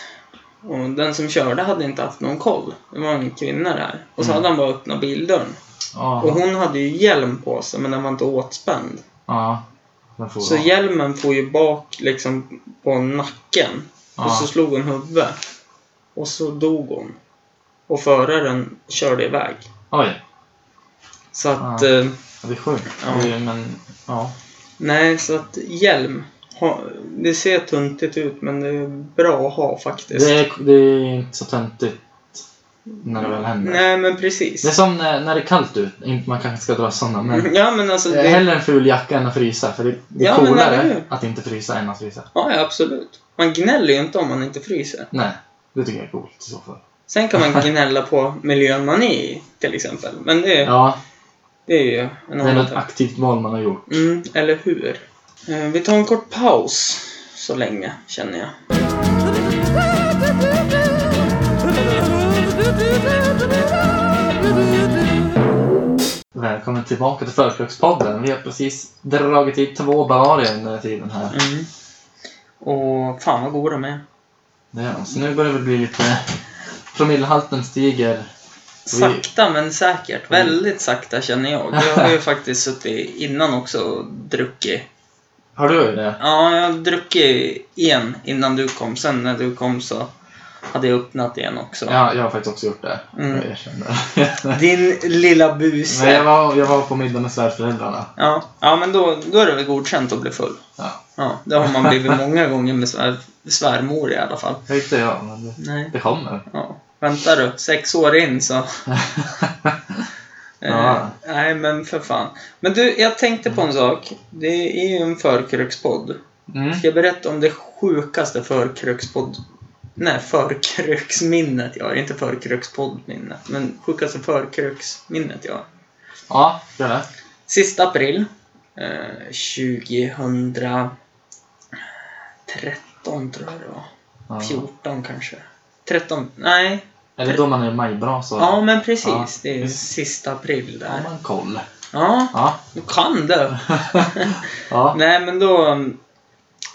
Speaker 2: Och den som körde hade inte haft någon koll. Det var en kvinna där. Och så
Speaker 3: Mm.
Speaker 2: hade han bara öppnat bildörren. Och
Speaker 3: Ja.
Speaker 2: hon hade ju hjälm på sig, men den var inte åtspänd.
Speaker 3: Ja. Den får
Speaker 2: Så
Speaker 3: vara.
Speaker 2: hjälmen får ju bak liksom på nacken.
Speaker 3: Ja.
Speaker 2: Och så slog hon huvudet. Och så dog hon. Och föraren körde iväg.
Speaker 3: Oj.
Speaker 2: Så att...
Speaker 3: Ja.
Speaker 2: Eh,
Speaker 3: Ja, Det är sjukt.
Speaker 2: Ja.
Speaker 3: Det är, men, ja.
Speaker 2: nej, så att hjälm. Ha, det ser tuntigt ut men det är bra att ha faktiskt.
Speaker 3: Det, är, det är inte så töntigt när det väl händer.
Speaker 2: Nej men precis.
Speaker 3: Det är som när, när det är kallt ut. Inte- Man kanske ska dra sådana,
Speaker 2: *laughs*
Speaker 3: men
Speaker 2: Ja men alltså
Speaker 3: det är
Speaker 2: det...
Speaker 3: hellre en ful jacka än att frysa. För det, det är
Speaker 2: Ja, men eller hur?
Speaker 3: coolare att inte frysa än att frysa.
Speaker 2: Ja, ja absolut. Man gnäller ju inte om man inte fryser.
Speaker 3: Nej, det tycker jag är coolt i så fall.
Speaker 2: Sen kan
Speaker 3: *laughs*
Speaker 2: man gnälla på miljön man är i till exempel. Men det,
Speaker 3: Ja,
Speaker 2: det är ju en
Speaker 3: det är
Speaker 2: annan
Speaker 3: något
Speaker 2: sak.
Speaker 3: aktivt val man har gjort.
Speaker 2: Mm, eller hur? Eh, Vi tar en kort paus så länge, känner jag.
Speaker 3: Välkommen tillbaka till Förkrökspodden. Vi har precis dragit i två Bavaria under tiden här.
Speaker 2: Mm. Och fan vad goda de är.
Speaker 3: Det är de. Så nu börjar det bli lite... Promillehalten stiger. Vi- Mm.
Speaker 2: Sakta men säkert. Väldigt sakta känner jag. Jag har ju *laughs* faktiskt suttit innan också och druckit.
Speaker 3: Har du det?
Speaker 2: Ja, jag har druckit en innan du kom. Sen när du kom så hade jag öppnat igen också.
Speaker 3: Ja, jag har faktiskt också gjort det.
Speaker 2: Mm.
Speaker 3: Jag erkänner.
Speaker 2: Din lilla buse.
Speaker 3: *laughs* Men jag var, jag var på middag med svärföräldrarna.
Speaker 2: Ja, ja men då, då är det väl godkänt att bli full.
Speaker 3: Ja.
Speaker 2: Ja, det har man blivit många gånger med svär, svärmor i alla fall.
Speaker 3: Det inte jag, men det,
Speaker 2: Nej.
Speaker 3: det kommer.
Speaker 2: Ja, vänta du, sex år in
Speaker 3: *laughs*
Speaker 2: så... Eh,
Speaker 3: Ja.
Speaker 2: nej men för fan. Men du, jag tänkte på en sak. Det är ju en förkrökspodd.
Speaker 3: Mm.
Speaker 2: Ska jag berätta om det sjukaste förkrökspodd... Nej, förkröksminnet jag har. Inte förkrökspoddminnet. Men sjukaste förkröksminnet jag har.
Speaker 3: Ja, gör det.
Speaker 2: Sista april. Eh, 2013 13 tror jag det var.
Speaker 3: Ja.
Speaker 2: 14 kanske. 13, nej.
Speaker 3: Eller då man är majbrasa.
Speaker 2: Ja men precis,
Speaker 3: Ja.
Speaker 2: det är
Speaker 3: Mm.
Speaker 2: sista april
Speaker 3: Då har
Speaker 2: där.
Speaker 3: man koll.
Speaker 2: Ja,
Speaker 3: Ja.
Speaker 2: du kan det.
Speaker 3: ja.
Speaker 2: Nej men då mm,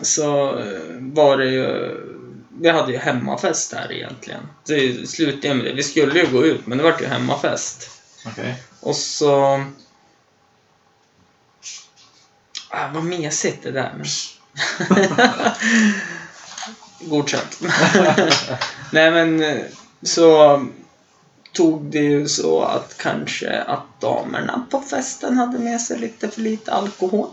Speaker 2: så eh, var det ju vi hade ju hemmafest här egentligen. Det slutade ju med det. Vi skulle ju gå ut men det vart ju hemmafest.
Speaker 3: Okej.
Speaker 2: Och så... Ah, vad mesigt det där. Men... *laughs* Godkänt. *laughs* Nej men eh, så tog det ju så att kanske att damerna på festen hade med sig lite för lite alkohol.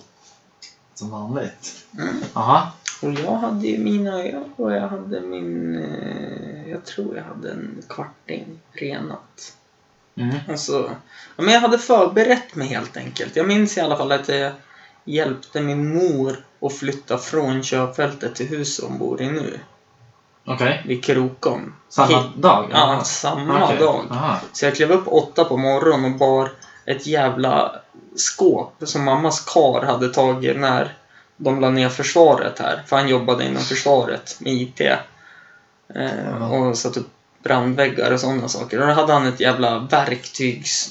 Speaker 3: Som vanligt.
Speaker 2: Mm.
Speaker 3: Aha.
Speaker 2: Och jag hade ju mina öl och jag hade min... eh, Jag tror jag hade en kvarting renat.
Speaker 3: Mm.
Speaker 2: Alltså, ja, men jag hade förberett mig helt enkelt. Jag minns i alla fall att jag hjälpte min mor att flytta från körfältet till huset hon bor i nu.
Speaker 3: Okej.
Speaker 2: Vid Krokom.
Speaker 3: Samma
Speaker 2: Hit-
Speaker 3: dag?
Speaker 2: Ja, samma
Speaker 3: Okej.
Speaker 2: dag.
Speaker 3: Aha.
Speaker 2: Så jag klev upp åtta på morgonen och bar ett jävla skåp som mammas kar hade tagit när de la ner försvaret här. För han jobbade inom försvaret med IT. Eh,
Speaker 3: Ja.
Speaker 2: och satte upp brandväggar och sådana saker. Och då hade han ett jävla verktygs...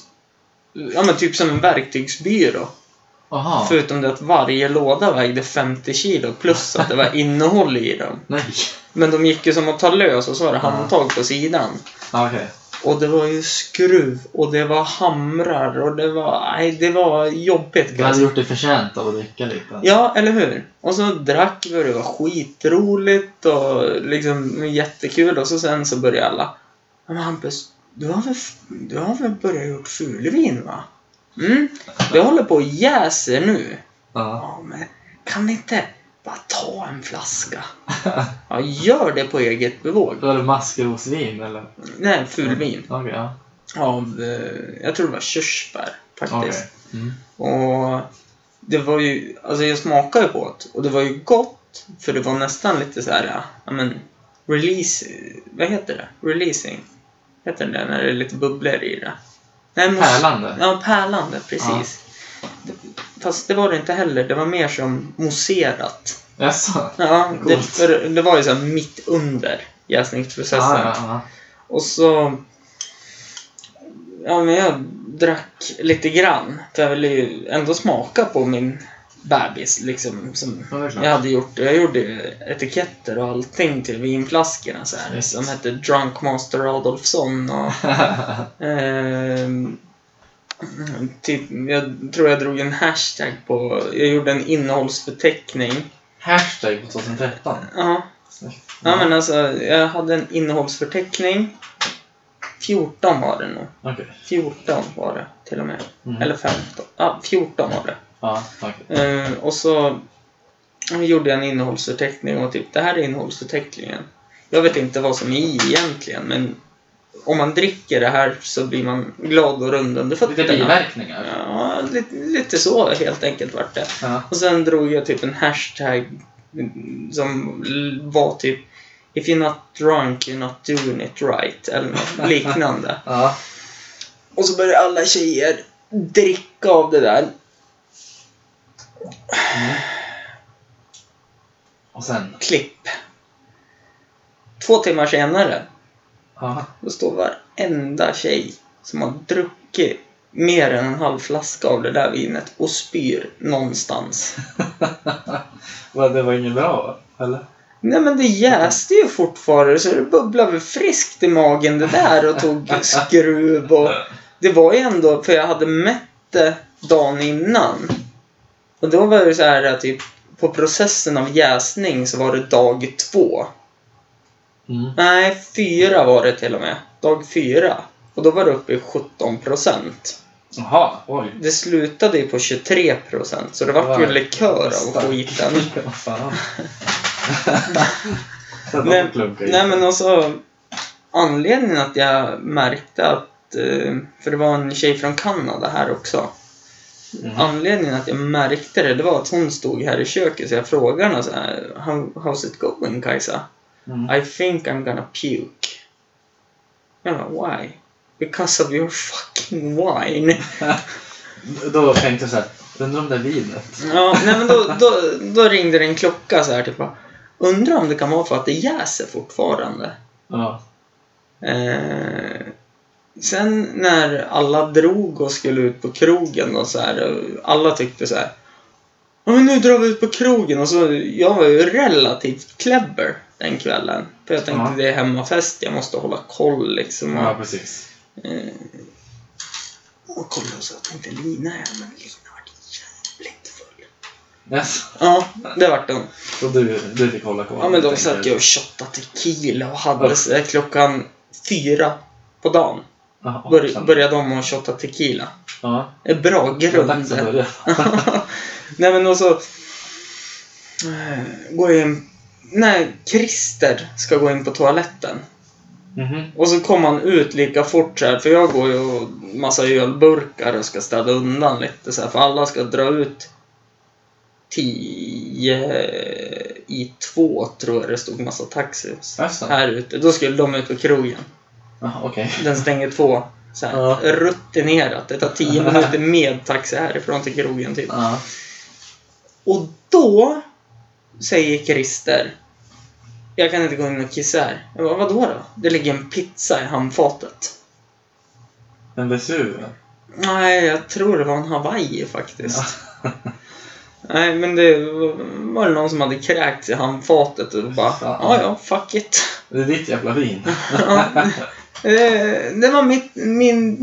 Speaker 2: Ja men typ som en verktygsbyrå.
Speaker 3: Aha.
Speaker 2: Förutom det att varje låda vägde 50 kilo plus att det
Speaker 3: *laughs*
Speaker 2: var innehåll i dem.
Speaker 3: Nej.
Speaker 2: Men de gick ju som att ta lös och så var det
Speaker 3: Ja.
Speaker 2: handtag på sidan.
Speaker 3: Ja, Okej.
Speaker 2: Och det var ju skruv och det var hamrar och det var... Nej, det var jobbigt
Speaker 3: Du hade
Speaker 2: kan
Speaker 3: gjort dig förtjänt av att dricka lite.
Speaker 2: Ja, eller hur? Och så drack vi och det var skitroligt och liksom jättekul och så sen så började alla... Men Hampus, du har väl, du har väl börjat gjort fulvin va? Mm, det håller på och jäser nu.
Speaker 3: Ja.
Speaker 2: Ja, men kan ni inte bara ta en flaska? Ja, gör det på eget bevåg.
Speaker 3: Då är det maskrosvin eller?
Speaker 2: Nej, fulvin.
Speaker 3: Okej, ja.
Speaker 2: av, eh, jag tror det var körsbär
Speaker 3: Okej.
Speaker 2: faktiskt.
Speaker 3: Mm.
Speaker 2: Och det var ju, alltså jag smakade på det och det var ju gott för det var nästan lite så här, ja men release, vad heter det? Releasing? Heter det när det är lite bubblor i det? Nej, men-
Speaker 3: Pärlande?
Speaker 2: Ja, pärlande, precis. Det, fast det var det inte heller, det var mer som mousserat.
Speaker 3: Jaså?
Speaker 2: Ja, det,
Speaker 3: Coolt.
Speaker 2: för det var ju så här mitt under jäsningsprocessen.
Speaker 3: Ja, ja, ja.
Speaker 2: Och så... Ja, men jag drack lite grann. För jag ville ju ändå smaka på min bebis liksom. Som
Speaker 3: Ja, det är klart.
Speaker 2: jag hade gjort. Jag gjorde ju etiketter och allting till vinflaskorna så här.
Speaker 3: Visst.
Speaker 2: Som hette Drunk Master Adolfsson och... ehm, Typ, jag tror jag drog en hashtag på... Jag gjorde en innehållsförteckning.
Speaker 3: *laughs* Hashtag på 2013.
Speaker 2: Ja,
Speaker 3: Snyggt.
Speaker 2: ja men alltså jag hade en innehållsförteckning. 14 var det nog.
Speaker 3: Okej.
Speaker 2: 14 var det till och med.
Speaker 3: Mm.
Speaker 2: Eller 15. Ja, 14 var det.
Speaker 3: Ja, okej.
Speaker 2: Eh, och så gjorde jag en innehållsförteckning och typ, det här är innehållsförteckningen. Jag vet inte vad som är i egentligen, men om man dricker det här så blir man glad och rund under fötterna.
Speaker 3: Lite biverkningar.
Speaker 2: Ja, lite, lite så helt enkelt vart det.
Speaker 3: Ja.
Speaker 2: Och sen drog jag typ en hashtag mm, som l- var typ If you're not drunk, you're not doing it right. Eller något liknande.
Speaker 3: Ja.
Speaker 2: Och så börjar alla tjejer dricka av det där.
Speaker 3: Och sen?
Speaker 2: Klipp. Två timmar senare,
Speaker 3: Ja.
Speaker 2: då står varenda tjej som har druckit mer än en halv flaska av det där vinet och spyr någonstans.
Speaker 3: Men det var inget bra, va? eller?
Speaker 2: Nej men det jäste ju fortfarande så det bubblade väl friskt i magen det där och tog skruv och... Det var ju ändå, för jag hade mätt det dagen innan. Och då var det så här att typ, på processen av jäsning så var det dag två.
Speaker 3: Mm.
Speaker 2: Nej, fyra var det till och med. Dag fyra. Och då var det uppe i 17 procent.
Speaker 3: Jaha, oj.
Speaker 2: Det slutade ju på 23 procent, så det vart ju
Speaker 3: Wow.
Speaker 2: likör av *laughs*
Speaker 3: Stark. *laughs*
Speaker 2: skiten.
Speaker 3: Vad fan. Sen
Speaker 2: Nej,
Speaker 3: de klunkar i.
Speaker 2: nej men alltså, anledningen att jag märkte att, eh, för det var en tjej från Kanada här också.
Speaker 3: Mm.
Speaker 2: Anledningen att jag märkte det, det var att hon stod här i köket så jag frågade henne så här, "How- How's it going Kajsa?
Speaker 3: Mm.
Speaker 2: I think I'm gonna puke. Jag bara, why? Because of your fucking wine.
Speaker 3: Då tänkte jag såhär, undrar om det är vinet?
Speaker 2: Ja, nej men då, då, då ringde det en klocka så här typ bara, Undrar om det kan vara för att det jäser fortfarande.
Speaker 3: Ja.
Speaker 2: Eh, sen när alla drog och skulle ut på krogen och så här, och alla tyckte så här. "Ja, Men nu drar vi ut på krogen och så, jag var ju relativt clever den kvällen. För jag tänkte
Speaker 3: Ja.
Speaker 2: det är hemmafest, jag måste hålla koll liksom. Och,
Speaker 3: ja, precis.
Speaker 2: eh, och kolla och så jag tänkte Lina är, men Lina vart jävligt full.
Speaker 3: Yes.
Speaker 2: Ja, det vart hon.
Speaker 3: Så du, du fick hålla koll?
Speaker 2: Ja men de
Speaker 3: helt
Speaker 2: satt
Speaker 3: enkelt.
Speaker 2: ju och shottade tequila och hade sig klockan fyra på dagen.
Speaker 3: Jaha,
Speaker 2: Bör,
Speaker 3: sen-
Speaker 2: började de att shotta tequila.
Speaker 3: Ja,
Speaker 2: En bra
Speaker 3: det var dags att
Speaker 2: grund.
Speaker 3: börja.
Speaker 2: *laughs* Nej men och så eh, går jag in... När Christer ska gå in på toaletten.
Speaker 3: Mhm.
Speaker 2: Och så kommer han ut lika fort så här, för jag går ju och massa ölburkar och ska städa undan lite så här, för alla ska dra ut tio i två tror jag det stod massa taxis
Speaker 3: Jaså?
Speaker 2: här ute. Då skulle de ut på krogen.
Speaker 3: Jaha, Okej.
Speaker 2: Den stänger två. Så här,
Speaker 3: Ja.
Speaker 2: Rutinerat. Det tar tio minuter med taxi härifrån till krogen typ.
Speaker 3: Ja.
Speaker 2: Och då säger Christer Jag kan inte gå in och kissa här. Jag bara, vadå då? Det ligger en pizza i handfatet.
Speaker 3: En Vesuvio?
Speaker 2: Nej, jag tror det var en Hawaii faktiskt. *laughs* Nej, men det var- var det någon som hade kräkts i handfatet och bara,
Speaker 3: Fan.
Speaker 2: ja ja, fuck it.
Speaker 3: Det är ditt jävla vin.
Speaker 2: Ja. Eh, det var mitt, min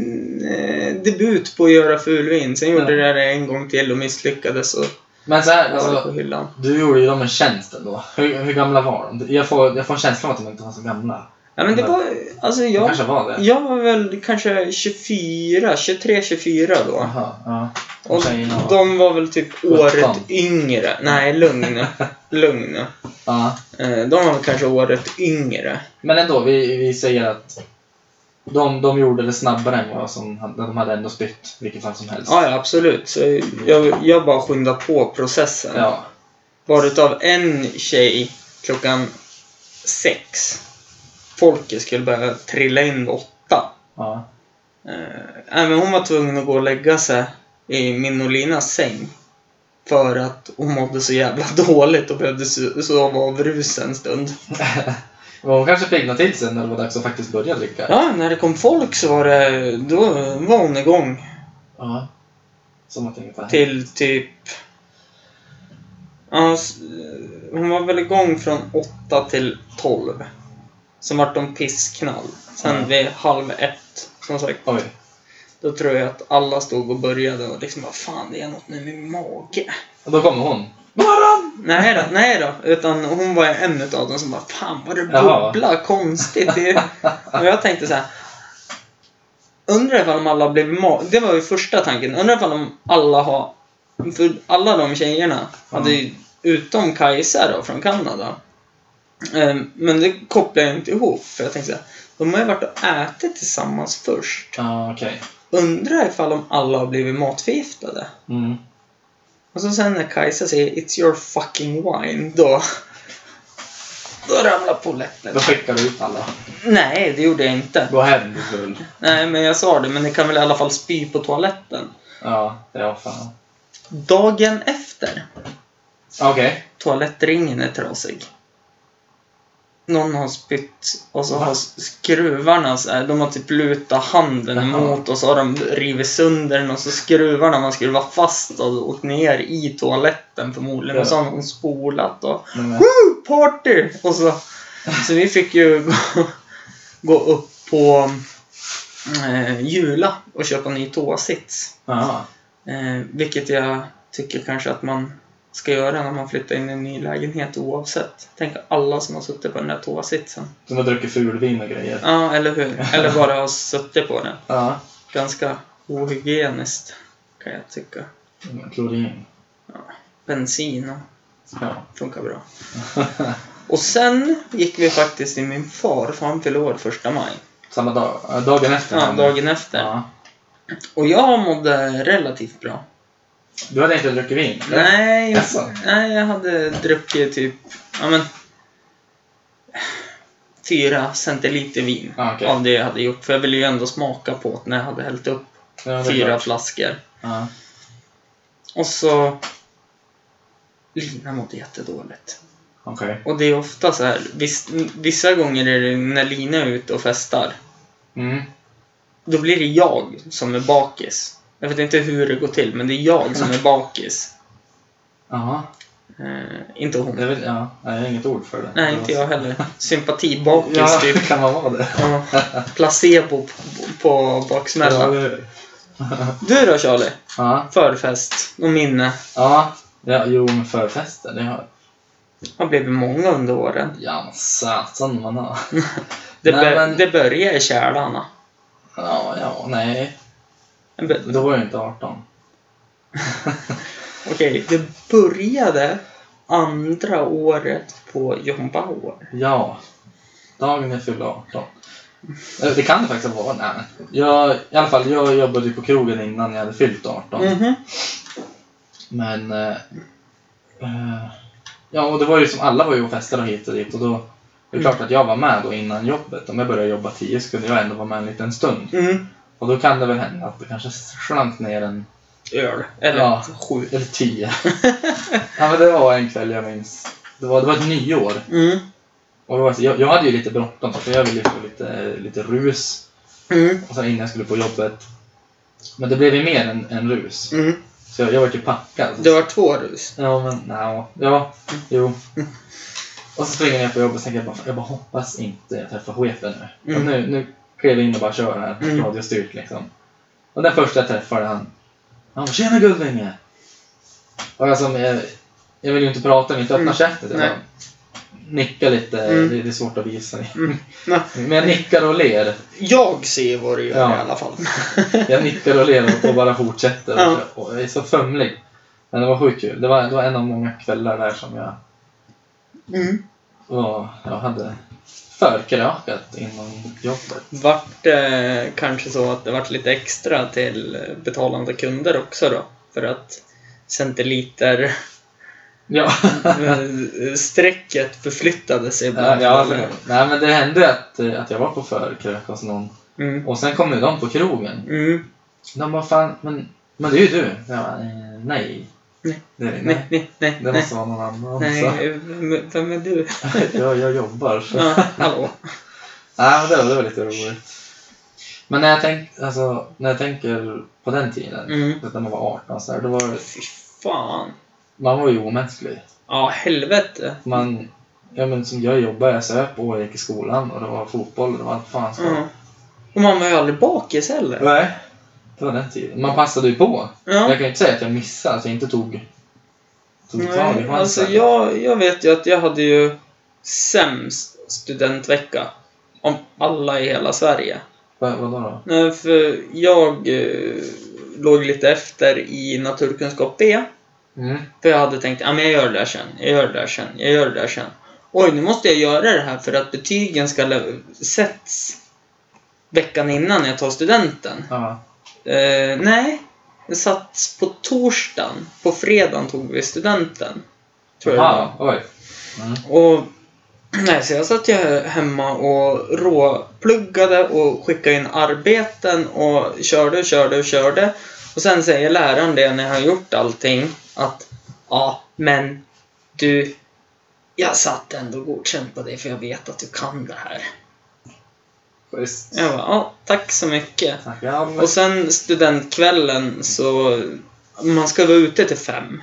Speaker 2: eh, debut på att göra fulvin. Sen gjorde jag det en gång till och misslyckades och
Speaker 3: Men så här,
Speaker 2: var det på
Speaker 3: alltså,
Speaker 2: hyllan.
Speaker 3: du gjorde ju dem en tjänst ändå. Hur, hur gamla var de? Jag får, jag får en känsla av att de inte var så gamla.
Speaker 2: Ja, men det var, alltså
Speaker 3: De
Speaker 2: jag,
Speaker 3: kanske var det?
Speaker 2: jag var väl kanske 24, 23, 24 då.
Speaker 3: Jaha, ja. Och
Speaker 2: Och
Speaker 3: tjejerna var...
Speaker 2: de var väl typ året
Speaker 3: 17.
Speaker 2: yngre. Nej, lugn
Speaker 3: *laughs*
Speaker 2: nu. Lugn nu.
Speaker 3: Ja.
Speaker 2: Eh, De var väl kanske året yngre.
Speaker 3: Men ändå, vi, vi säger att de, de gjorde det snabbare än vad som hade- de hade ändå spytt, vilket fall som helst.
Speaker 2: Ja, ja absolut. Så jag, jag bara skyndade på processen.
Speaker 3: Ja.
Speaker 2: Varutav en tjej klockan sex. Folket skulle börja trilla in vid åtta.
Speaker 3: ja.
Speaker 2: Eh, nej, men hon var tvungen att gå och lägga sig i min och Linas säng. För att hon mådde så jävla *laughs* dåligt och behövde so- sova av rus en stund.
Speaker 3: *laughs* Men hon kanske piggnade till sen när det var dags att faktiskt börja dricka.
Speaker 2: Ja, när det kom folk så var det... Då var hon igång.
Speaker 3: Ja. Som att inget var hänt.
Speaker 2: Till typ... Ja, s- eh, hon var väl igång från 8 till 12. Sen vart de pissknall. Sen
Speaker 3: Mm.
Speaker 2: vid halv ett, som sagt.
Speaker 3: Oj.
Speaker 2: Då tror jag att alla stod och började och liksom bara Fan, det är något nu med min mage.
Speaker 3: Och då kommer hon.
Speaker 2: Nej då, nej då. Utan hon var en utav dem som bara Fan vad det
Speaker 3: Jaha.
Speaker 2: bubblar konstigt. Det är... Och jag tänkte så här. Undrar ifall om alla blev ma- Det var ju första tanken. Undrar ifall om alla har... För alla de tjejerna hade ju, utom Kajsa då, från Kanada. Ehm, Men det kopplar jag inte ihop. För jag tänkte så här. De har ju varit och ätit tillsammans först.
Speaker 3: Ja, okej.
Speaker 2: Undrar ifall om alla har blivit matförgiftade.
Speaker 3: Mm.
Speaker 2: Och så sen när Kajsa säger It's your fucking wine, då... Då ramlar polletten.
Speaker 3: Då skickar du ut alla.
Speaker 2: Nej, det gjorde jag inte.
Speaker 3: Gå hem, du full.
Speaker 2: Nej, men jag sa det, men ni kan väl i alla fall spy på toaletten.
Speaker 3: Ja, ja fan.
Speaker 2: Dagen efter,
Speaker 3: Okej.
Speaker 2: toalettringen är trasig. Någon har spytt och så har skruvarna så här, de har typ lutat handen
Speaker 3: Jaha.
Speaker 2: emot och så har de rivit sönder den och så skruvarna man skruvar fast och åkt ner i toaletten förmodligen och så har någon spolat och
Speaker 3: Men, men,
Speaker 2: Woo, party! Och så, så vi fick ju *laughs* gå, gå upp på eh, Jula och köpa en ny toasits.
Speaker 3: ja.
Speaker 2: Eh, vilket jag tycker kanske att man ska göra när man flyttar in i en ny lägenhet oavsett. Tänk alla som har suttit på den där toasitsen.
Speaker 3: Som har druckit fulvin och grejer.
Speaker 2: Ja, eller hur? Eller bara har suttit på den.
Speaker 3: Ja.
Speaker 2: Ganska ohygieniskt kan jag tycka.
Speaker 3: Mm, Klorin.
Speaker 2: Bensin och
Speaker 3: Ja.
Speaker 2: funkar bra. Och sen gick vi faktiskt till min far, för han fyllde år första maj.
Speaker 3: Samma dag. ja, Dagen efter.
Speaker 2: Ja, dagen efter.
Speaker 3: Ja.
Speaker 2: Och jag mådde relativt bra.
Speaker 3: Du hade inte druckit vin? eller?
Speaker 2: Nej, jag,
Speaker 3: Jaså?
Speaker 2: nej, jag hade druckit typ, ja men, fyra centiliter vin
Speaker 3: Ja, Ah, okej.
Speaker 2: av det jag hade gjort. För jag ville ju ändå smaka på det när jag hade hällt upp
Speaker 3: Ja, det är
Speaker 2: fyra
Speaker 3: klart.
Speaker 2: flaskor.
Speaker 3: Ja.
Speaker 2: Och så... Lina mådde jättedåligt.
Speaker 3: Okej.
Speaker 2: Och det är ofta så här, viss, vissa gånger är det när Lina är ute och festar,
Speaker 3: Mm.
Speaker 2: då blir det jag som är bakis. Jag vet inte hur det går till, men det är jag som är bakis.
Speaker 3: Jaha.
Speaker 2: Eh, inte
Speaker 3: Det
Speaker 2: hon.
Speaker 3: är väl, ja, nej, jag har inget ord för det.
Speaker 2: Nej, inte jag heller. Sympatibakis,
Speaker 3: Ja,
Speaker 2: typ.
Speaker 3: kan man vara *laughs* det?
Speaker 2: Ja. placebo på, på
Speaker 3: Ja,
Speaker 2: baksmällan.
Speaker 3: det är *laughs* det.
Speaker 2: Du då Charlie?
Speaker 3: Ja,
Speaker 2: Förfest och minne.
Speaker 3: ja, ja, jo men förfester, det har
Speaker 2: har blivit många under åren. *laughs*
Speaker 3: Ja, men satan man har.
Speaker 2: Det,
Speaker 3: Nej,
Speaker 2: bör,
Speaker 3: men-
Speaker 2: det börjar i kärlarna.
Speaker 3: Ja, ja, nej.
Speaker 2: Det bör-
Speaker 3: Då var jag inte 18.
Speaker 2: Okej, det började andra året på John Bauer.
Speaker 3: Ja. Dagen jag fyllde 18. Eh, Det kan det faktiskt vara. Nej, men. Jag, I alla fall, jag jobbade ju på krogen innan jag hade fyllt 18.
Speaker 2: Mhm.
Speaker 3: Men... Eh, eh, ja, och det var ju som alla var ju och festade och hit och dit och då... Det är klart att jag var med då innan jobbet. Om jag började jobba 10 så kunde jag ändå vara med en liten stund.
Speaker 2: Mm.
Speaker 3: Och då kan det väl hända att det kanske slank ner en...
Speaker 2: Öl. Eller
Speaker 3: Ja.
Speaker 2: sju.
Speaker 3: Eller 10. ja, men det var en kväll jag minns. Det var, det var ett nyår.
Speaker 2: Mm.
Speaker 3: Och det var, så- jag, jag hade ju lite bråttom för jag ville ju få lite, lite rus.
Speaker 2: Mm.
Speaker 3: Och sen innan jag skulle på jobbet. Men det blev ju mer än, än rus.
Speaker 2: Mm.
Speaker 3: Så jag, jag var ju typ packad.
Speaker 2: Det var två rus.
Speaker 3: Ja, men nja, ja, jo. Och så springer jag på jobbet och tänker jag bara, jag bara hoppas inte jag träffar chefen nu.
Speaker 2: Mm.
Speaker 3: Och nu, nu klev jag in och bara kör här,
Speaker 2: Mm.
Speaker 3: radiostyrt liksom. Och den första jag träffade han, han bara ”Tjena Gullvinge!” Och jag som, jag, jag vill ju inte prata, jag vill inte öppna
Speaker 2: Mm.
Speaker 3: käften. Jag
Speaker 2: Nej.
Speaker 3: bara nickar lite,
Speaker 2: Mm.
Speaker 3: det, det är svårt att visa.
Speaker 2: Mm. Nej.
Speaker 3: Men jag nickar och ler.
Speaker 2: Jag ser vad du gör
Speaker 3: Ja.
Speaker 2: i alla fall.
Speaker 3: *laughs* Jag nickar och ler och- och bara fortsätter.
Speaker 2: Ja.
Speaker 3: Och och jag är så fumlig. Men det var sjukt kul. Det var, det var en av många kvällar där som jag
Speaker 2: Mm.
Speaker 3: var, jag hade förkrökat inom jobbet.
Speaker 2: Vart eh, kanske så att det vart lite extra till eh, betalande kunder också då? För att
Speaker 3: *laughs*
Speaker 2: centiliter
Speaker 3: Ja,
Speaker 2: eh, strecket förflyttade sig
Speaker 3: *laughs* ja,
Speaker 2: ibland.
Speaker 3: ja men- nej, men det hände att, eh, att jag var på förkrök hos någon.
Speaker 2: Mm.
Speaker 3: Och sen kom ju de på krogen.
Speaker 2: Mm.
Speaker 3: De bara fan, men, men det är ju du. Jag bara, eh, nej.
Speaker 2: Nej.
Speaker 3: Det, är-
Speaker 2: Nej,
Speaker 3: nej.
Speaker 2: nej, nej.
Speaker 3: det
Speaker 2: nej.
Speaker 3: måste vara någon annan.
Speaker 2: Nej, vem- vem är du?
Speaker 3: Så. Jag, jag jobbar. Så.
Speaker 2: Ja, hallå.
Speaker 3: Ja, det var, det var lite roligt. Men när jag, tänk, alltså, när jag tänker på den tiden,
Speaker 2: Mm.
Speaker 3: när man var 18 så här, då var det-
Speaker 2: Fy fan.
Speaker 3: man var ju omänsklig.
Speaker 2: Ja, helvete.
Speaker 3: Man, ja, men som jag jobbade, jag söp och jag gick i skolan och det var fotboll och det var allt fan ska.
Speaker 2: Ja. Och man var ju aldrig bakis heller.
Speaker 3: Nej. Det var den tiden. Man passade ju på.
Speaker 2: Ja.
Speaker 3: Jag kan ju inte säga att jag missade, att jag inte tog, tog tag i
Speaker 2: Nej,
Speaker 3: chansen.
Speaker 2: alltså jag, jag vet ju att jag hade ju sämst studentvecka. Om alla i hela Sverige.
Speaker 3: Va, vadå då?
Speaker 2: Nej, för jag eh, låg lite efter i naturkunskap B.
Speaker 3: Mm.
Speaker 2: För jag hade tänkt, ja men jag gör det där sen, jag gör det där sen, jag gör det där sen. Oj, nu måste jag göra det här för att betygen ska lä- sätts veckan innan jag tar studenten.
Speaker 3: Ja.
Speaker 2: Eh, nej, det satts på torsdagen. På fredagen tog vi studenten. Tror jag det var.
Speaker 3: Aha, oj. Mm.
Speaker 2: Och *clears throat* nej, så jag satt ju hemma och råpluggade och skickade in arbeten och körde och körde och körde. Och sen säger läraren det när jag har gjort allting att ja, men du, jag satt ändå godkänt på dig för jag vet att du kan det här.
Speaker 3: Schysst.
Speaker 2: Jag bara, ja, tack så mycket.
Speaker 3: Tackar.
Speaker 2: Och sen studentkvällen så, man ska vara ute till fem.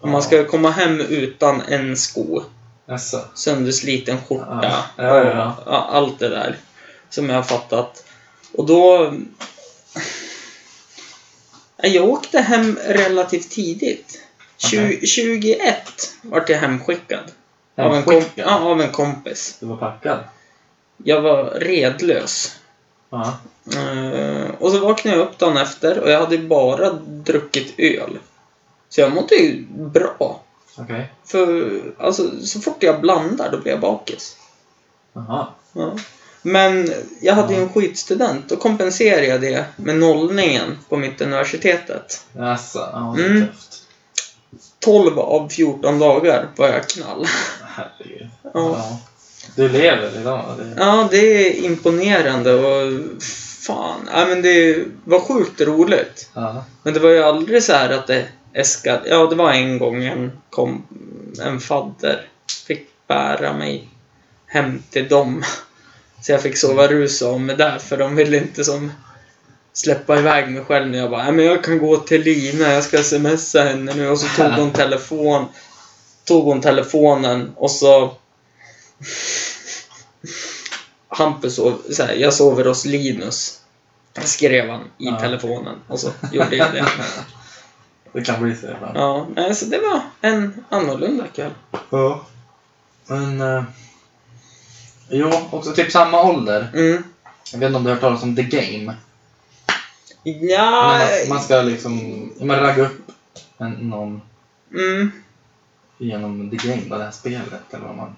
Speaker 2: Och man ska komma hem utan en sko.
Speaker 3: Jaså.
Speaker 2: söndersliten skjorta
Speaker 3: Ja, ja, ja.
Speaker 2: och ja, allt det där som jag har fattat. Och då... Ja, Jag åkte hem relativt tidigt. Tju-
Speaker 3: Okej.
Speaker 2: 21 vart jag hemskickad. Av en,
Speaker 3: Hemskickad?
Speaker 2: kom- ja, av en kompis.
Speaker 3: Du var packad?
Speaker 2: Jag var redlös.
Speaker 3: Ja.
Speaker 2: Eh, och så vaknade jag upp dagen efter och jag hade bara druckit öl. Så jag mådde ju bra.
Speaker 3: Okej.
Speaker 2: För alltså, så fort jag blandar då blir jag bakis.
Speaker 3: Jaha.
Speaker 2: Ja. Men jag hade ju en skitstudent. Då kompenserade jag det med nollningen på mitt universitetet.
Speaker 3: Jaså. Ja, det är
Speaker 2: Mm.
Speaker 3: tufft.
Speaker 2: 12 av 14 dagar var jag knall.
Speaker 3: Herregud.
Speaker 2: Ja.
Speaker 3: Ja. Du lever idag. Det är...
Speaker 2: Ja, det är imponerande och fan. Ja, men det var sjukt roligt.
Speaker 3: ja.
Speaker 2: Men det var ju aldrig så här att det eskade. Ja, det var en gång en, kom, en fadder fick bära mig hem till dem. Så jag fick sova rus om mig där, för de ville inte som släppa iväg mig själv när jag bara "Nej, men jag kan gå till Lina, jag ska smsa henne nu. Och så tog hon telefon tog hon telefonen och så Hampus sov, så här, jag sover hos Linus skrev han i
Speaker 3: Ja.
Speaker 2: telefonen och så gjorde jag det.
Speaker 3: Det kan bli så ibland.
Speaker 2: Ja, nej, så det var en annorlunda kväll.
Speaker 3: Ja. Men... Eh, jo, också typ samma ålder.
Speaker 2: Mm.
Speaker 3: Jag vet inte om du har hört talas om The Game.
Speaker 2: Ja,
Speaker 3: Man, man ska liksom... Man raggar upp en, någon
Speaker 2: mm,
Speaker 3: genom The Game, då, det här spelet. Eller vad man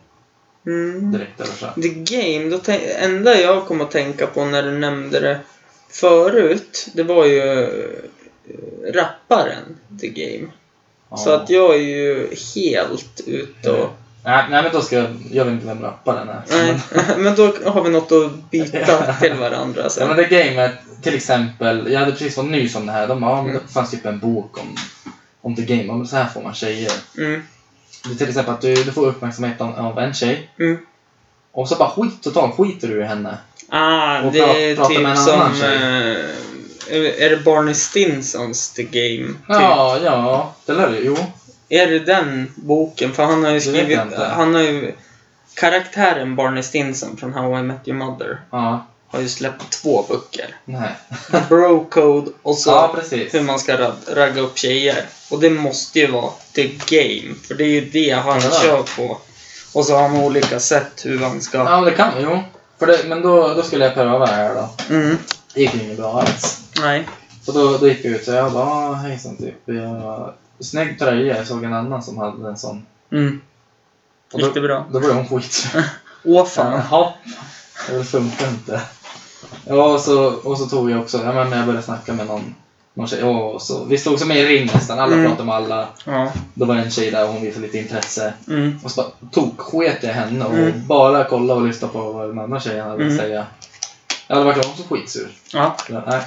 Speaker 2: mm.
Speaker 3: direkt översatt.
Speaker 2: The Game, då tän- enda jag kom att tänka på när du nämnde det förut, det var ju eh, rapparen The Game.
Speaker 3: Ja. Eh,
Speaker 2: Så att jag är ju helt ute och...
Speaker 3: Nej, nej, men då ska jag... Jag vet inte vem rapparen är.
Speaker 2: Nej, *laughs* men då har vi något att byta till varandra
Speaker 3: *laughs* Ja, men
Speaker 2: sen.
Speaker 3: det gamet, till exempel, jag hade precis varit ny som det här. De har, det fanns typ en bok om, om det game. Ja, men så här får man tjejer.
Speaker 2: Mm,
Speaker 3: Det är till exempel att du, du får uppmärksamhet av, av en tjej.
Speaker 2: mm.
Speaker 3: Och så bara skit totalt skiter du i henne.
Speaker 2: Ah,
Speaker 3: Och
Speaker 2: det är
Speaker 3: pra- prata med en
Speaker 2: typ
Speaker 3: annan
Speaker 2: som...
Speaker 3: tjej.
Speaker 2: eh, är det Barney Stinsons The Game? Typ?
Speaker 3: Ja, ja, det lär du. Jo.
Speaker 2: Är det den boken? För han har ju
Speaker 3: Det vet jag
Speaker 2: skrivit...
Speaker 3: inte.
Speaker 2: Han har ju... Karaktären Barney Stinson från How I Met Your Mother
Speaker 3: Ja.
Speaker 2: har ju släppt två
Speaker 3: *laughs*
Speaker 2: böcker.
Speaker 3: Nej.
Speaker 2: Bro Code och så
Speaker 3: ja, precis.
Speaker 2: hur man ska rag- ragga upp tjejer. Och det måste ju vara the game, för det är ju det han
Speaker 3: Ja.
Speaker 2: kör på. Och så har han olika sätt hur han ska...
Speaker 3: Ja, men det kan Jo. För det, men då, då skulle jag pröva det här då.
Speaker 2: Mm,
Speaker 3: Det gick ju inget bra alls.
Speaker 2: nej.
Speaker 3: Så då, då gick jag ut så jag bara, ah, hejsan typ. Jag, snygg tröja. Jag såg en annan som hade en sån.
Speaker 2: Mm.
Speaker 3: Och då-
Speaker 2: Gick det bra?
Speaker 3: Då blev hon skit.
Speaker 2: Åh fan.
Speaker 3: Jaha. Det funkar inte. Ja, och så, och så tog jag också, ja, men jag började snacka med någon, någon tjej. Och så, vi stod som i en ring nästan, alla
Speaker 2: Mm.
Speaker 3: pratade med alla.
Speaker 2: Ja.
Speaker 3: Då var det en tjej där och hon visade lite intresse.
Speaker 2: Mm.
Speaker 3: Och så bara toksket jag henne och
Speaker 2: Mm.
Speaker 3: bara kollade och lyssnade på vad den andra tjejen hade
Speaker 2: Mm.
Speaker 3: att säga. Ja, det var klart, hon så skitsur.
Speaker 2: Ja.
Speaker 3: Ja, nej.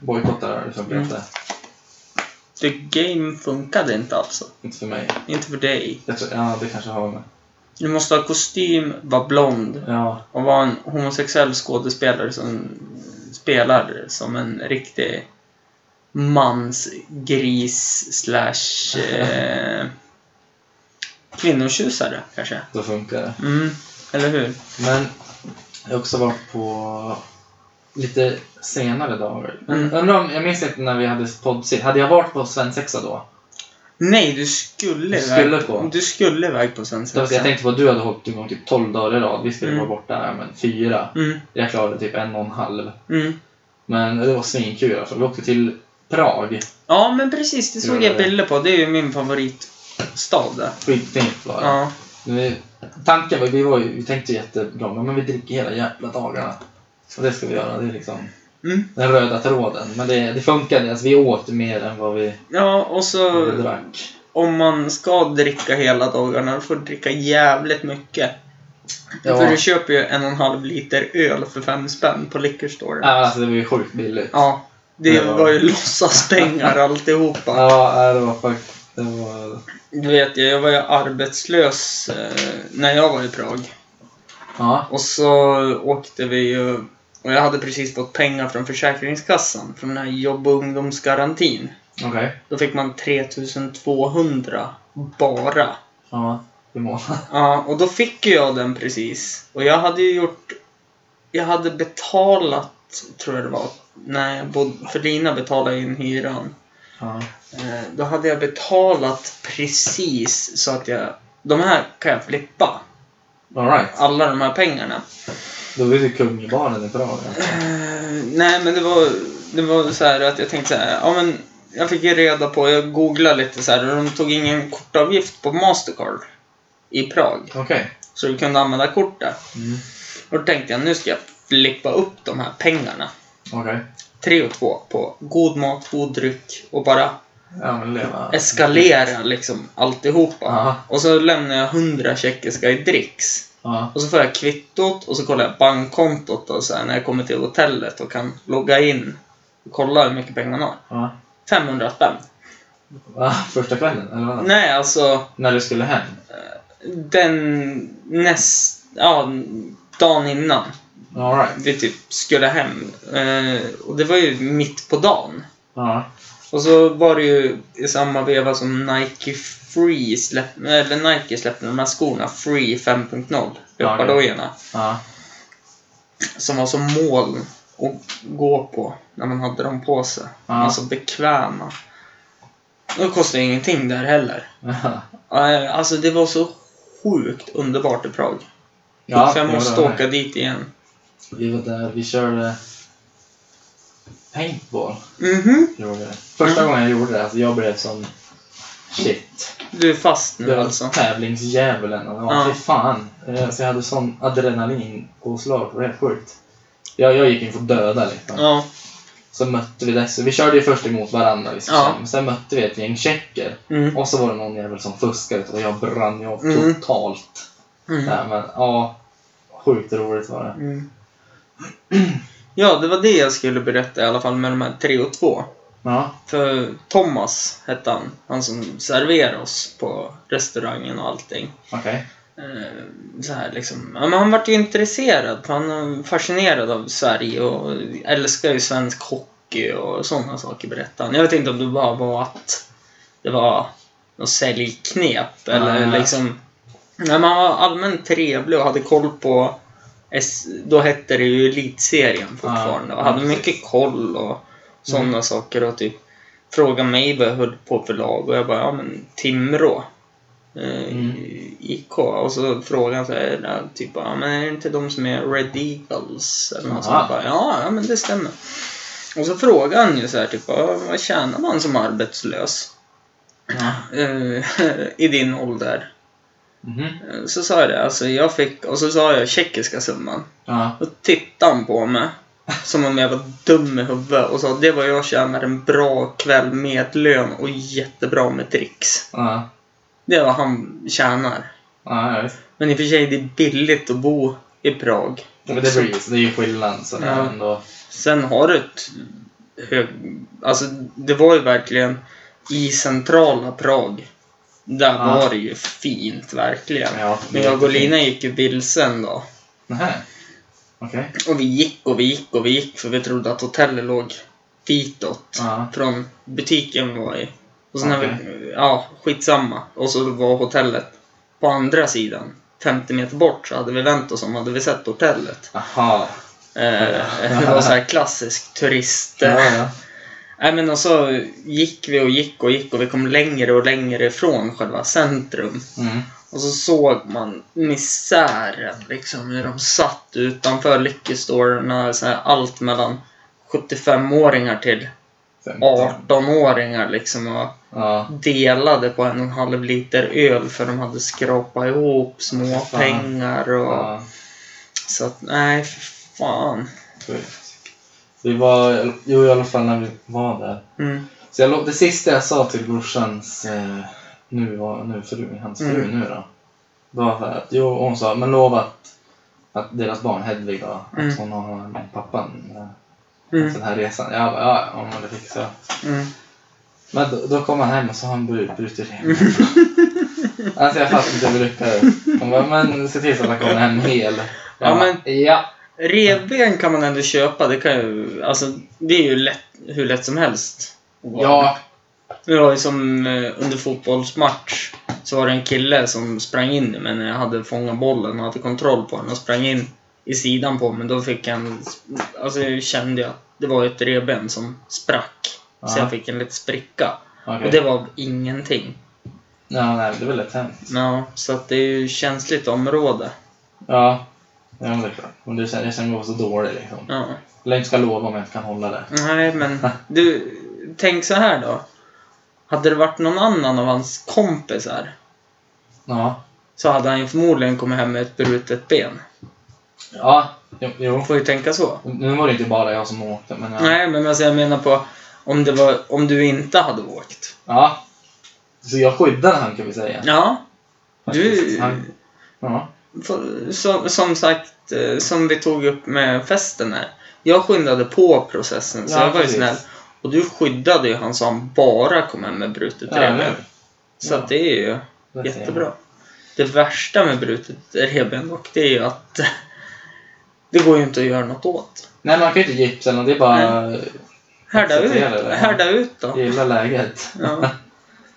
Speaker 3: Bojkottar det, här, det funkar
Speaker 2: Mm.
Speaker 3: inte.
Speaker 2: The game funkade inte alltså.
Speaker 3: Inte för mig.
Speaker 2: Inte för dig.
Speaker 3: Jag tror, ja, det kanske har med.
Speaker 2: Du måste ha kostym, vara blond
Speaker 3: Ja,
Speaker 2: och vara en homosexuell skådespelare som spelar som en riktig mansgris slash eh, kvinnotjusare kanske.
Speaker 3: då funkar det.
Speaker 2: Mm, eller hur?
Speaker 3: Men jag har också varit på lite senare dagar. Men
Speaker 2: Mm.
Speaker 3: Undrar om, jag minns inte när vi hade poddsit. Hade jag varit på svensexa då?
Speaker 2: Nej, du skulle
Speaker 3: Du skulle
Speaker 2: iväg
Speaker 3: på.
Speaker 2: Du skulle iväg på
Speaker 3: Det vill säga, Jag
Speaker 2: svensexa.
Speaker 3: tänkte på att du hade hållit igång typ 12 dagar i rad. Vi skulle
Speaker 2: Mm.
Speaker 3: vara borta ja, men fyra.
Speaker 2: Mm,
Speaker 3: Jag klarade typ en och en halv.
Speaker 2: mm.
Speaker 3: Men det var svinkul alltså. Vi åkte till Prag.
Speaker 2: Ja, men precis. Det såg
Speaker 3: Gjorde
Speaker 2: jag
Speaker 3: det.
Speaker 2: bilder på. Det är ju min favoritstad där.
Speaker 3: Skitfint var det.
Speaker 2: Ja.
Speaker 3: Vi, tanken var, vi, var ju, vi tänkte jättebra, men vi dricker hela jävla dagarna. Och det ska vi göra. Det är liksom
Speaker 2: Mm.
Speaker 3: den röda tråden. Men det, det funkade. Alltså, vi åt mer än vad vi,
Speaker 2: Ja, och
Speaker 3: vad
Speaker 2: så
Speaker 3: vi drack.
Speaker 2: om man ska dricka hela dagarna, då får du dricka jävligt mycket.
Speaker 3: Ja.
Speaker 2: För du köper ju en och en halv liter öl för fem spänn på liquorstoren.
Speaker 3: Ja, alltså det var ju sjukt billigt.
Speaker 2: Ja. Det
Speaker 3: Det var-
Speaker 2: var ju *laughs* låtsaspengar alltihopa.
Speaker 3: Ja, ja, det var faktiskt... Det var...
Speaker 2: Du vet, jag var ju arbetslös eh, när jag var i Prag.
Speaker 3: Ja.
Speaker 2: Och så åkte vi ju... Och jag hade precis fått pengar från Försäkringskassan, från den här jobb och ungdomsgarantin.
Speaker 3: Okej.
Speaker 2: Då fick man 3200 bara.
Speaker 3: Ja. I månaden.
Speaker 2: Ja, och då fick ju jag den precis. Och jag hade ju gjort... Jag hade betalat, tror jag det var. Nej, jag bod- för Lina betalade in hyran.
Speaker 3: Ja.
Speaker 2: Eh, Då hade jag betalat precis så att jag... De här kan jag flippa.
Speaker 3: Alright.
Speaker 2: Alla de här pengarna.
Speaker 3: Då var ju kung i baren i Prag. Alltså.
Speaker 2: Eh, nej, men det var, det var så här att jag tänkte så här, ja men jag fick ju reda på, jag googlade lite så här och de tog ingen kortavgift på Mastercard i Prag.
Speaker 3: Okej.
Speaker 2: Så du kunde använda kortet.
Speaker 3: Mm.
Speaker 2: Och då tänkte jag, nu ska jag flippa upp de här pengarna.
Speaker 3: Okej.
Speaker 2: tre och två på god mat, god dryck och bara
Speaker 3: Ja, men leva.
Speaker 2: eskalera liksom alltihopa.
Speaker 3: Ja.
Speaker 2: Och så lämnar jag 100 tjeckiska i dricks.
Speaker 3: Ja.
Speaker 2: Och så får jag kvittot och så kollar jag bankkontot och så här, när jag kommer till hotellet och kan logga in och kolla hur mycket pengar man har.
Speaker 3: ja.
Speaker 2: 500 spänn.
Speaker 3: Va? Första kvällen? Eller vad?
Speaker 2: Nej, alltså
Speaker 3: När du skulle hem?
Speaker 2: den näst... Ja, dagen innan.
Speaker 3: Alright.
Speaker 2: Vi typ skulle hem. Eh, och det var ju mitt på dagen.
Speaker 3: Ja.
Speaker 2: Och så var det ju i samma veva som Nike Free släppte, eller Nike släppte de här skorna, Free 5.0,
Speaker 3: Ja, det-
Speaker 2: löpardojorna.
Speaker 3: Ja. *laughs*
Speaker 2: Som var som mål att gå på när man hade dem på sig.
Speaker 3: Ja.
Speaker 2: De var så bekväma. De kostade ingenting där heller. Eh, Alltså det var så sjukt underbart i Prag. så jag
Speaker 3: jo,
Speaker 2: måste
Speaker 3: det var
Speaker 2: åka dit igen.
Speaker 3: det. Vi var där, vi körde paintball.
Speaker 2: Mhm,
Speaker 3: Gjorde vi. Första
Speaker 2: Mm.
Speaker 3: gången jag gjorde det, alltså jag blev som shit.
Speaker 2: du är fast nu
Speaker 3: Det var
Speaker 2: alltså.
Speaker 3: tävlingsdjävulen. Och
Speaker 2: Ja.
Speaker 3: ja. fy fan. Eh, Så jag hade sån adrenalinpåslag. Det var helt sjukt. Jag, jag gick in för att döda liksom.
Speaker 2: Ja,
Speaker 3: Så mötte vi dess. Vi körde ju först emot varandra. Liksom.
Speaker 2: Ja.
Speaker 3: Sen mötte vi ett gäng tjecker.
Speaker 2: mm,
Speaker 3: Och så var det någon jävel som fuskade. Och jag brann ju av
Speaker 2: Mm.
Speaker 3: totalt.
Speaker 2: mm,
Speaker 3: Nej, men, ja, sjukt roligt var det.
Speaker 2: mm. Ja, det var det jag skulle berätta i alla fall med de här 3 och 2.
Speaker 3: Ja.
Speaker 2: För Thomas hette han, han som serverade oss på restaurangen och allting.
Speaker 3: Okej.
Speaker 2: Eh, Så här liksom. Ja, men han vart ju intresserad, för han är fascinerad av Sverige och älskar ju svensk hockey och sådana saker berättade han. Jag vet inte om det bara var att det var något säljknep eller
Speaker 3: Nej.
Speaker 2: liksom... Nej, men han var allmänt trevlig och hade koll på... S- då hette det ju Elitserien fortfarande
Speaker 3: Ja,
Speaker 2: och hade
Speaker 3: ja, precis. Mm.
Speaker 2: mycket koll och sådana saker och typ fråga mig vad jag höll på för lag och jag bara, ja men Timrå. Eh,
Speaker 3: Mm.
Speaker 2: IK. Och så frågade han så här, ja, typ, ja men är det inte de som är Red Eagles? Eller något sånt.
Speaker 3: Jaha.
Speaker 2: Jag bara, ja, ja men det stämmer. Och så frågade han ju så här, typ, ja, vad tjänar man som arbetslös?
Speaker 3: Ja.
Speaker 2: Eh, *laughs* I din ålder.
Speaker 3: Mhm.
Speaker 2: Eh, Så sa jag det, alltså jag fick, och så sa jag tjeckiska summan.
Speaker 3: Ja.
Speaker 2: Då tittade han på mig. Som om jag var dum i huvudet och sa det var jag tjänar en bra kväll med lön och jättebra med dricks.
Speaker 3: Ja.
Speaker 2: Det är vad han tjänar.
Speaker 3: Ja, ja, visst.
Speaker 2: Men i och för sig, det är billigt att bo i Prag.
Speaker 3: Ja, men det blir ju så. Det är ju skillnad. Så det är
Speaker 2: Ja.
Speaker 3: ändå...
Speaker 2: Sen har du ett hög... Alltså, det var ju verkligen i centrala Prag. Där
Speaker 3: Ja.
Speaker 2: var det ju fint, verkligen.
Speaker 3: Ja,
Speaker 2: Men jag och Lina gick ju vilse en dag.
Speaker 3: Nähä. Okej.
Speaker 2: Och vi gick och vi gick och vi gick för vi trodde att hotellet låg ditåt.
Speaker 3: Ja.
Speaker 2: Från butiken vi var i. Och sen när
Speaker 3: Okej.
Speaker 2: vi, ja, skitsamma. Och så var hotellet på andra sidan. 50 meter bort så hade vi vänt oss om, hade vi sett hotellet.
Speaker 3: Aha.
Speaker 2: Eh, *laughs* Det var så här klassisk turist.
Speaker 3: Ja, ja.
Speaker 2: Nej, men och så gick vi och gick och gick och vi kom längre och längre ifrån själva centrum.
Speaker 3: Mm.
Speaker 2: Och så såg man misären, liksom hur de satt utanför lyckestorerna. Så här, allt mellan 75-åringar till
Speaker 3: 15.
Speaker 2: 18-åringar liksom. Och
Speaker 3: Ja.
Speaker 2: delade på en och en halv liter öl för de hade skrapat ihop små
Speaker 3: Fan.
Speaker 2: pengar. Och,
Speaker 3: Ja.
Speaker 2: Så att, nej, för fan.
Speaker 3: sjukt. Vi var, jo i alla fall när vi var där.
Speaker 2: Mm.
Speaker 3: Så jag, lå- det sista jag sa till brorsans, eh, nu, var, nu fru, hans fru
Speaker 2: Mm.
Speaker 3: nu då. Var för att, jo hon sa, men lova att, att deras barn Hedvig då, att
Speaker 2: Mm.
Speaker 3: hon har med pappan eh,
Speaker 2: Mm.
Speaker 3: den här resan. Jag bara, ja ja, men det fixar jag.
Speaker 2: Mm.
Speaker 3: Men då, då kom han hem och så har han bru- brutit revben.
Speaker 2: *laughs*
Speaker 3: alltså jag fattar inte hur vi lyckades. Hon bara, men se till så att han kommer hem hel. Jag
Speaker 2: Ja,
Speaker 3: bara, ja.
Speaker 2: Revben kan man ändå köpa, det kan ju, alltså det är ju lätt, hur lätt som helst.
Speaker 3: Ja.
Speaker 2: Det var ju som eh, under fotbollsmatch så var det en kille som sprang in men jag hade fångat bollen och hade kontroll på den och sprang in i sidan på men då fick han, alltså jag kände jag att det var ett revben som sprack. Så
Speaker 3: Ja.
Speaker 2: jag fick en liten spricka.
Speaker 3: Okej.
Speaker 2: Och det var ingenting.
Speaker 3: Ja, nej, det är väl lätt hänt.
Speaker 2: Ja, så att det är ju känsligt område.
Speaker 3: Ja, ja men det är klart. Men du känner, jag känner mig också dålig liksom.
Speaker 2: Ja.
Speaker 3: Eller jag ska lova om jag inte kan hålla det.
Speaker 2: Nej, men du, tänk så här då. Hade det varit någon annan av hans kompisar
Speaker 3: Ja.
Speaker 2: så hade han ju förmodligen kommit hem med ett brutet ben.
Speaker 3: Ja, jo. jo.
Speaker 2: Man får ju tänka så.
Speaker 3: Nu var det inte bara jag som åkte, men eh, ja.
Speaker 2: Nej, men alltså jag menar på om, det var, om du inte hade åkt.
Speaker 3: ja. Så jag skyddade han kan vi säga.
Speaker 2: Ja,
Speaker 3: Faktiskt.
Speaker 2: du-
Speaker 3: Han, ja.
Speaker 2: för- så, som sagt, eh, som vi tog upp med festen här. Jag skyndade på processen, så
Speaker 3: Ja,
Speaker 2: jag var ju
Speaker 3: precis.
Speaker 2: snäll. Och du skyddade ju han så han bara kom hem med brutet
Speaker 3: Ja,
Speaker 2: revben.
Speaker 3: eller hur?
Speaker 2: Så
Speaker 3: Ja.
Speaker 2: att det är ju
Speaker 3: Det ser jag.
Speaker 2: jättebra. det värsta med brutet revben dock, det är ju att *laughs* det går ju inte att göra något åt.
Speaker 3: Nej, man kan ju inte gipsa eller något, det är bara
Speaker 2: Härda ut,
Speaker 3: Acceptera det, ja.
Speaker 2: härda ut då.
Speaker 3: gilla läget.
Speaker 2: Ja.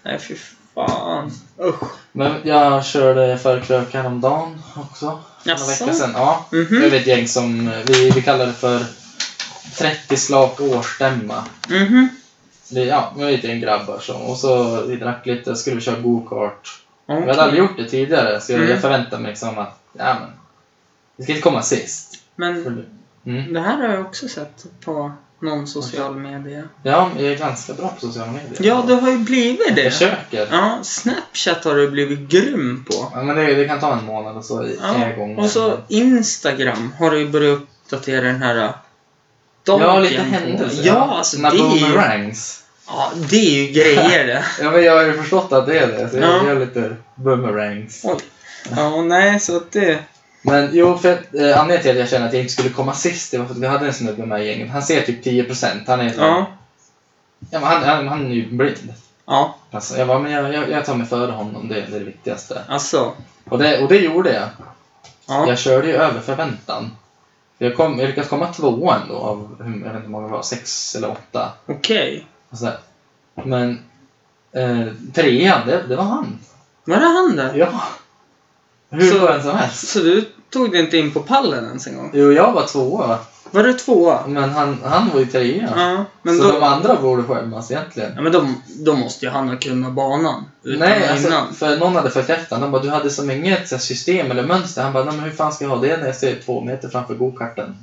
Speaker 2: Nej, fy fan. Usch.
Speaker 3: Men jag körde förkrök häromdagen också. För Några
Speaker 2: Jaså?
Speaker 3: veckor sedan. Ja.
Speaker 2: Mhm.
Speaker 3: Det är väl ett gäng som vi, vi kallar det för 30 slak årsstämma.
Speaker 2: Mhm.
Speaker 3: Det, ja, vi var ett gäng grabbar som, och så vi drack lite och skulle vi köra go-kart. Vi hade
Speaker 2: Okej.
Speaker 3: aldrig gjort det tidigare så jag,
Speaker 2: Mm.
Speaker 3: jag förväntade mig liksom att, ja men, vi ska inte komma sist.
Speaker 2: Men
Speaker 3: Mm.
Speaker 2: det här har jag också sett på någon social media.
Speaker 3: Ja, jag är ganska bra på sociala medier.
Speaker 2: Ja, du har ju blivit
Speaker 3: Jag
Speaker 2: det.
Speaker 3: försöker.
Speaker 2: Ja, Snapchat har du blivit grym på.
Speaker 3: Ja, men det, det kan ta en månad och så är jag
Speaker 2: Ja,
Speaker 3: igång.
Speaker 2: och så Instagram har du ju börjat uppdatera den här äh, dagen
Speaker 3: ja, lite
Speaker 2: på.
Speaker 3: händelser.
Speaker 2: Ja, alltså det
Speaker 3: När
Speaker 2: är, ju,
Speaker 3: boomerangs.
Speaker 2: ja, det är ju grejer
Speaker 3: *laughs*
Speaker 2: det.
Speaker 3: Ja, men jag har ju förstått att det är det, så jag
Speaker 2: Ja.
Speaker 3: gör lite boomerangs.
Speaker 2: Oj. Ja, och nej, så att det...
Speaker 3: Men jo, för att, eh, anledningen till att jag kände att jag inte skulle komma sist, det var för att vi hade en snubbe med i gänget. Han ser typ 10%, han är ja.
Speaker 2: Ja.
Speaker 3: Ja, men han, han, han är ju blind.
Speaker 2: Ja,
Speaker 3: Alltså, jag bara, men jag, jag, jag tar mig före honom, det, det är det viktigaste.
Speaker 2: alltså.
Speaker 3: Och det, och det gjorde jag.
Speaker 2: Ja.
Speaker 3: Jag körde ju över förväntan. Jag, kom, jag lyckades komma tvåa ändå, av hur- jag vet inte hur många det var, sex eller åtta.
Speaker 2: Okej.
Speaker 3: Och så där. Men eh, trean, det, det var han.
Speaker 2: Var det han där?
Speaker 3: Ja. Hur
Speaker 2: Så-
Speaker 3: så, den som helst.
Speaker 2: Så du tog dig inte in på pallen ens en gång?
Speaker 3: Jo, jag var tvåa.
Speaker 2: Var du tvåa?
Speaker 3: Men han, han var ju trea.
Speaker 2: Ja. Men,
Speaker 3: så
Speaker 2: då,
Speaker 3: de andra borde skämmas egentligen.
Speaker 2: ja, men då, då måste ju han ha kunnat banan. Utan
Speaker 3: Nej,
Speaker 2: Nej,
Speaker 3: alltså,
Speaker 2: innan.
Speaker 3: för någon hade följt efter honom. Han bara, du hade som inget så här, system eller mönster. Han bara, nej men hur fan ska jag ha det när jag ser två meter framför go-karten?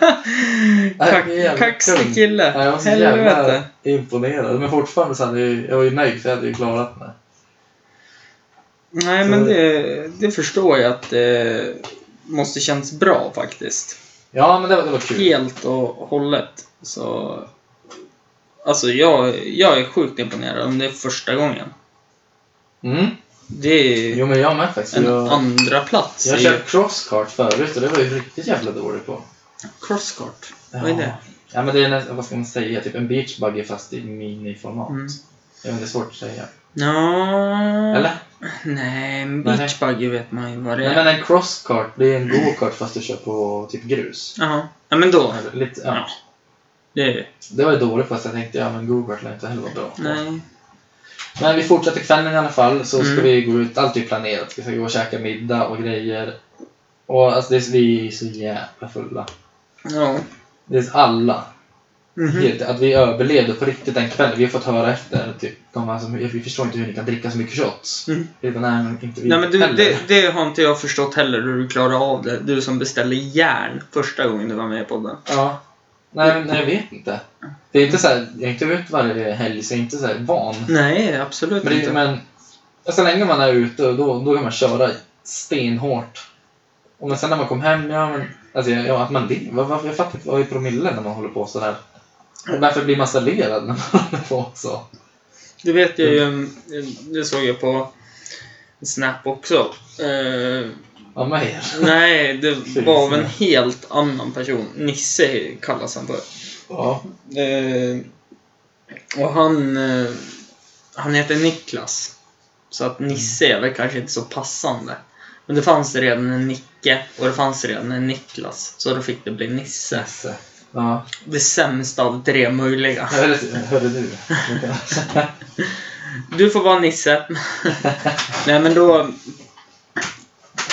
Speaker 2: Kack,
Speaker 3: jag är jävla
Speaker 2: kaxig
Speaker 3: kung.
Speaker 2: kille.
Speaker 3: Nej, Jag var så jävla
Speaker 2: Helvete.
Speaker 3: imponerad. Men fortfarande så hade jag, ju- jag var ju nöjd för jag hade ju klarat mig.
Speaker 2: Nej,
Speaker 3: Så-
Speaker 2: men det, det förstår jag att det måste känns bra faktiskt.
Speaker 3: Ja, men det var, det var kul.
Speaker 2: Helt och hållet. Så... Alltså, jag, jag är sjukt imponerad om det är första gången.
Speaker 3: Mm.
Speaker 2: Det är
Speaker 3: Jo, men jag med faktiskt.
Speaker 2: en
Speaker 3: Jag,
Speaker 2: andra plats
Speaker 3: jag
Speaker 2: i
Speaker 3: körde crosskart förut och det var jag ju riktigt jävla dålig på.
Speaker 2: crosscart. Vad är det?
Speaker 3: Ja, men det är nästan, vad ska man säga, typ en beachbuggy fast i miniformat.
Speaker 2: Mm.
Speaker 3: Jag vet, det är svårt att säga.
Speaker 2: Ja.
Speaker 3: Eller?
Speaker 2: Nej, en
Speaker 3: Nej.
Speaker 2: beachbuggy vet man ju vad det
Speaker 3: Nej,
Speaker 2: är.
Speaker 3: men en crosscart, det är en go-kart fast du kör på typ grus.
Speaker 2: Jaha. Ja, men då.
Speaker 3: Eller Lite,
Speaker 2: Ja.
Speaker 3: ja.
Speaker 2: Det är
Speaker 3: Det var ju dåligt fast jag tänkte, ja men go-kart lär inte heller vara bra. på.
Speaker 2: Nej.
Speaker 3: Men vi fortsätter kvällen i alla fall, så ska
Speaker 2: Mm.
Speaker 3: vi gå ut, allt är planerat. Vi ska gå och käka middag och grejer. Och alltså, det är, vi är så jävla fulla.
Speaker 2: Ja.
Speaker 3: Det är alla.
Speaker 2: Mhm.
Speaker 3: Helt, att vi överlevde på riktigt den kvällen. Vi har fått höra efter, typ, de alltså, vi förstår inte hur ni kan dricka så mycket shots.
Speaker 2: Mm.
Speaker 3: Vi bara, nej, men inte vi
Speaker 2: Nej men du,
Speaker 3: heller."
Speaker 2: det, det har inte jag förstått heller hur du klarar av det. Du som beställde järn första gången du var med i podden.
Speaker 3: Ja. Nej, men jag vet inte. Det är inte så här, jag är inte ute varje helg, så jag är inte så här van.
Speaker 2: Nej, absolut
Speaker 3: Men, det,
Speaker 2: inte.
Speaker 3: men så länge man är ute, då, då kan man köra stenhårt. Och men sen när man kom hem, ja men... Alltså, jag- ja, att man vill. Vad- Varför, jag fattar inte, vad är promille när man håller på så här? Och varför blir man serverad när man håller på så?
Speaker 2: Det vet jag ju, eh, det såg jag på Snap också. Eh,
Speaker 3: Av mig?
Speaker 2: nej, det var av en helt annan person. Nisse kallas han för.
Speaker 3: Ja.
Speaker 2: Eh, och han, eh, han heter Niklas. Så att Nisse är väl kanske inte så passande. Men det fanns redan en Nicke och det fanns redan en Niklas. Så då fick det bli Nisse.
Speaker 3: Nisse. Ja.
Speaker 2: Det sämsta av tre möjliga.
Speaker 3: Hörde, hörde du?
Speaker 2: Du får vara Nisse. Nej men då...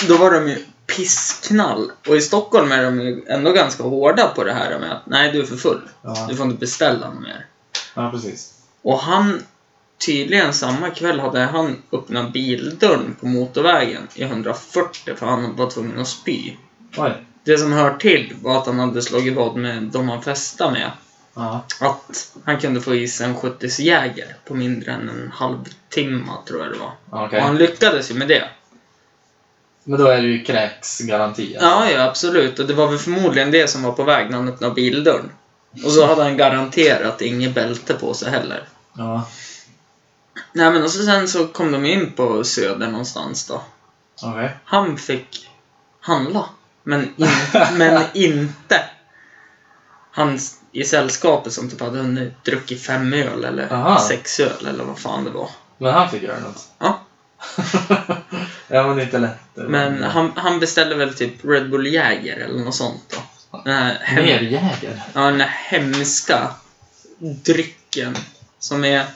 Speaker 2: Då var de ju pissknall. Och i Stockholm är de ju ändå ganska hårda på det här med att nej, du är för full.
Speaker 3: Ja,
Speaker 2: Du får inte beställa något mer.
Speaker 3: ja precis.
Speaker 2: Och han, tydligen samma kväll hade han öppnat bildörren på motorvägen i 140 för han var tvungen att spy.
Speaker 3: Oj.
Speaker 2: Det som hör till var att han hade slagit vad med de han festade med.
Speaker 3: Ja.
Speaker 2: Att han kunde få i sig en 70 jäger på mindre än en halvtimme tror jag det var.
Speaker 3: Okej.
Speaker 2: Och han lyckades ju med det.
Speaker 3: Men då är det ju kräksgaranti. alltså.
Speaker 2: Ja, ja absolut. Och det var väl förmodligen det som var på väg när han öppnade bildörren. Och så hade han garanterat inget bälte på sig heller.
Speaker 3: Ja.
Speaker 2: Nej men och så sen så kom de in på Söder någonstans då.
Speaker 3: Okej.
Speaker 2: Han fick handla. Men, in, men inte han s- i sällskapet som typ hade hunnit druckit fem öl eller
Speaker 3: Aha.
Speaker 2: sex öl eller vad fan det var.
Speaker 3: Men han fick göra något.
Speaker 2: Ja.
Speaker 3: *laughs* Ja, men det är inte lätt.
Speaker 2: Men han, han beställde väl typ Red Bull Jäger eller något sånt då. Den här,
Speaker 3: Mer
Speaker 2: hem,
Speaker 3: jäger?
Speaker 2: ja, den här hemska drycken som är...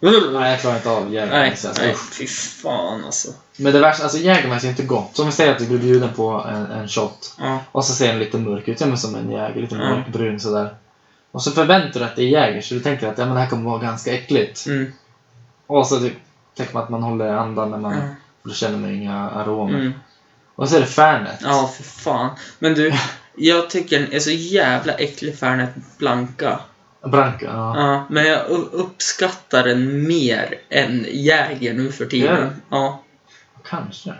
Speaker 3: Nej, jag klarar inte av
Speaker 2: Nej,
Speaker 3: Jägermäss. Alltså.
Speaker 2: nej, fy fan alltså.
Speaker 3: Men det värsta, alltså Jägermäss är inte gott. Som vi säger att du blir bjuden på en, en shot
Speaker 2: Ja,
Speaker 3: och så ser den lite mörk ut, ja, men som en Jäger, lite
Speaker 2: Mm.
Speaker 3: mörkbrun sådär. Och så förväntar du dig att det är Jäger, så du tänker att ja, men det här kommer vara ganska äckligt.
Speaker 2: mm,
Speaker 3: Och så typ, tänker man att man håller andan när man
Speaker 2: Mm.
Speaker 3: då känner man inga aromer.
Speaker 2: mm.
Speaker 3: Och så är det Fernet.
Speaker 2: Ja, för fan. Men
Speaker 3: *laughs*
Speaker 2: du, jag tycker den är så jävla äcklig Fernet Blanca.
Speaker 3: Branca, ja.
Speaker 2: Ja, men jag u- uppskattar den mer än Jäger nu för
Speaker 3: Gör du?
Speaker 2: tiden. Ja.
Speaker 3: Kanske.
Speaker 2: eh,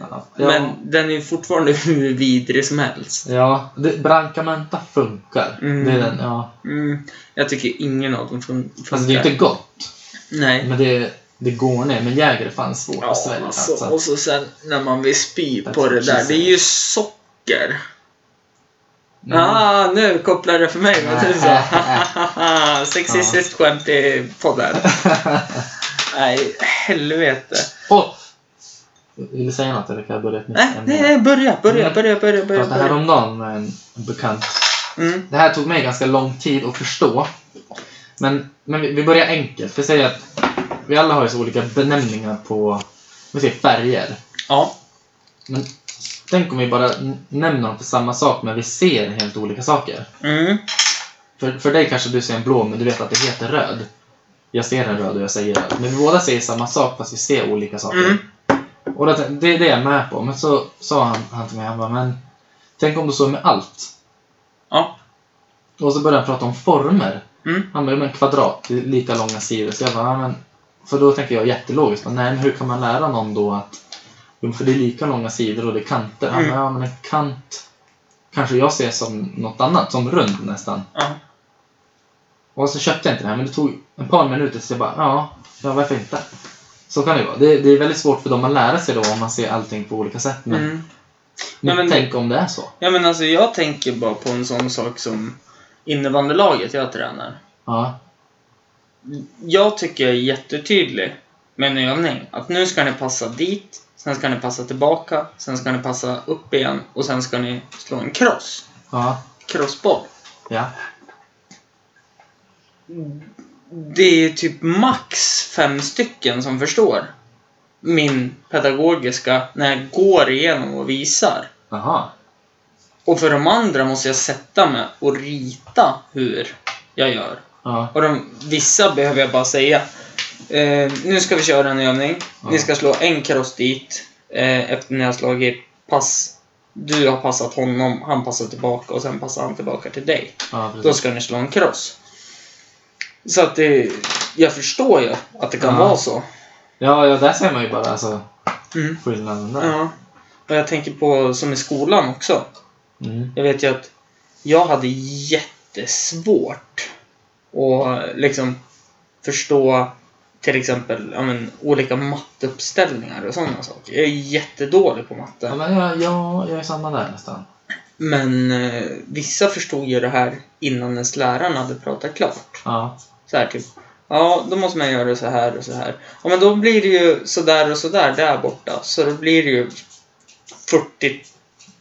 Speaker 3: Ja. Ja,
Speaker 2: Men den är ju fortfarande *laughs* hur vidrig som helst.
Speaker 3: ja. Det, Brancamenta funkar.
Speaker 2: Mm.
Speaker 3: Det är den, ja.
Speaker 2: Mm, jag tycker ingen av dem fun- funkar.
Speaker 3: Alltså det är inte gott,
Speaker 2: Nej.
Speaker 3: men det, det går ner. Men Jäger är fan svårt
Speaker 2: Ja,
Speaker 3: att svälja.
Speaker 2: alltså,
Speaker 3: Alltså.
Speaker 2: och så sen när man vill spy
Speaker 3: That's
Speaker 2: på det
Speaker 3: what she
Speaker 2: där. Det
Speaker 3: said.
Speaker 2: är ju socker.
Speaker 3: Mm.
Speaker 2: Ah, nu kopplar det för mig. Vad du
Speaker 3: *laughs*
Speaker 2: sa. Sexistiskt skämt i podden. Nej, helvete.
Speaker 3: Åh! Vill du säga något eller kan jag börja ett nytt
Speaker 2: Nej, nej, nej, börja,
Speaker 3: Mm.
Speaker 2: börja, börja, börja,
Speaker 3: Jag
Speaker 2: börja.
Speaker 3: pratade
Speaker 2: börja.
Speaker 3: häromdagen med en bekant.
Speaker 2: Mm,
Speaker 3: Det här tog mig ganska lång tid att förstå. Men, men vi, vi börjar enkelt. Vi säger att vi alla har ju så olika benämningar på vi säger färger.
Speaker 2: ja.
Speaker 3: Men tänk om vi bara n- nämner dem för samma sak men vi ser helt olika saker.
Speaker 2: Mm,
Speaker 3: För, för dig kanske du ser en blå men du vet att det heter röd. Jag ser en röd och jag säger röd. Men vi båda säger samma sak fast vi ser olika saker.
Speaker 2: mm,
Speaker 3: Och det, det är det jag är med på. Men så sa han, han till mig, han bara, men tänk om du så med allt.
Speaker 2: ja.
Speaker 3: Och så började han prata om former.
Speaker 2: Mm,
Speaker 3: Han bara, men kvadrat, det är lika långa sidor. Så jag bara, ja, men, för då tänker jag jättelogiskt, men nej men hur kan man lära någon då att, jo för det är lika långa sidor och det är kanter. Han
Speaker 2: Mm.
Speaker 3: bara, ja men en kant kanske jag ser som något annat, som rund nästan.
Speaker 2: ja.
Speaker 3: Och så köpte jag inte det här, men det tog en par minuter så jag bara, ja, ja varför inte? Så kan det ju vara. Det, det är väldigt svårt för dem att lära sig då om man ser allting på olika sätt. Men
Speaker 2: Mm.
Speaker 3: Men,
Speaker 2: Ja, men-
Speaker 3: tänk om det är så.
Speaker 2: Ja men alltså jag tänker bara på en sån sak som innebandylaget jag tränar.
Speaker 3: Ja.
Speaker 2: Jag tycker jag är jättetydlig med en övning. Att nu ska ni passa dit, sen ska ni passa tillbaka, sen ska ni passa upp igen och sen ska ni slå en cross.
Speaker 3: Ja.
Speaker 2: Crossboll.
Speaker 3: Ja.
Speaker 2: Det är typ max fem stycken som förstår min pedagogiska när jag går igenom och visar.
Speaker 3: Jaha.
Speaker 2: Och för de andra måste jag sätta mig och rita hur jag gör.
Speaker 3: Ja.
Speaker 2: Och de, vissa behöver jag bara säga. Eh, nu ska vi köra en övning.
Speaker 3: Ja.
Speaker 2: Ni ska slå en cross dit. Eh, efter ni har slagit pass. Du har passat honom, han passar tillbaka och sen passar han tillbaka till dig.
Speaker 3: Ja,
Speaker 2: Då
Speaker 3: precis.
Speaker 2: ska ni slå en cross. Så att det, jag förstår ju att det kan
Speaker 3: Ja.
Speaker 2: vara så.
Speaker 3: Ja, ja, där ser man ju bara alltså,
Speaker 2: Mm.
Speaker 3: skillnaden där.
Speaker 2: Ja. Och jag tänker på som i skolan också.
Speaker 3: Mm.
Speaker 2: Jag vet ju att jag hade jättesvårt att liksom förstå till exempel ja, men, olika matteuppställningar och sådana saker. Jag är jättedålig på
Speaker 3: Ja,
Speaker 2: matte.
Speaker 3: men ja, ja, jag är samma där nästan.
Speaker 2: Men eh, vissa förstod ju det här innan ens läraren hade pratat klart.
Speaker 3: Ja.
Speaker 2: Så här typ. Ja, då måste man göra så här och så här. Ja, men då blir det ju sådär och sådär där borta. Så då blir det ju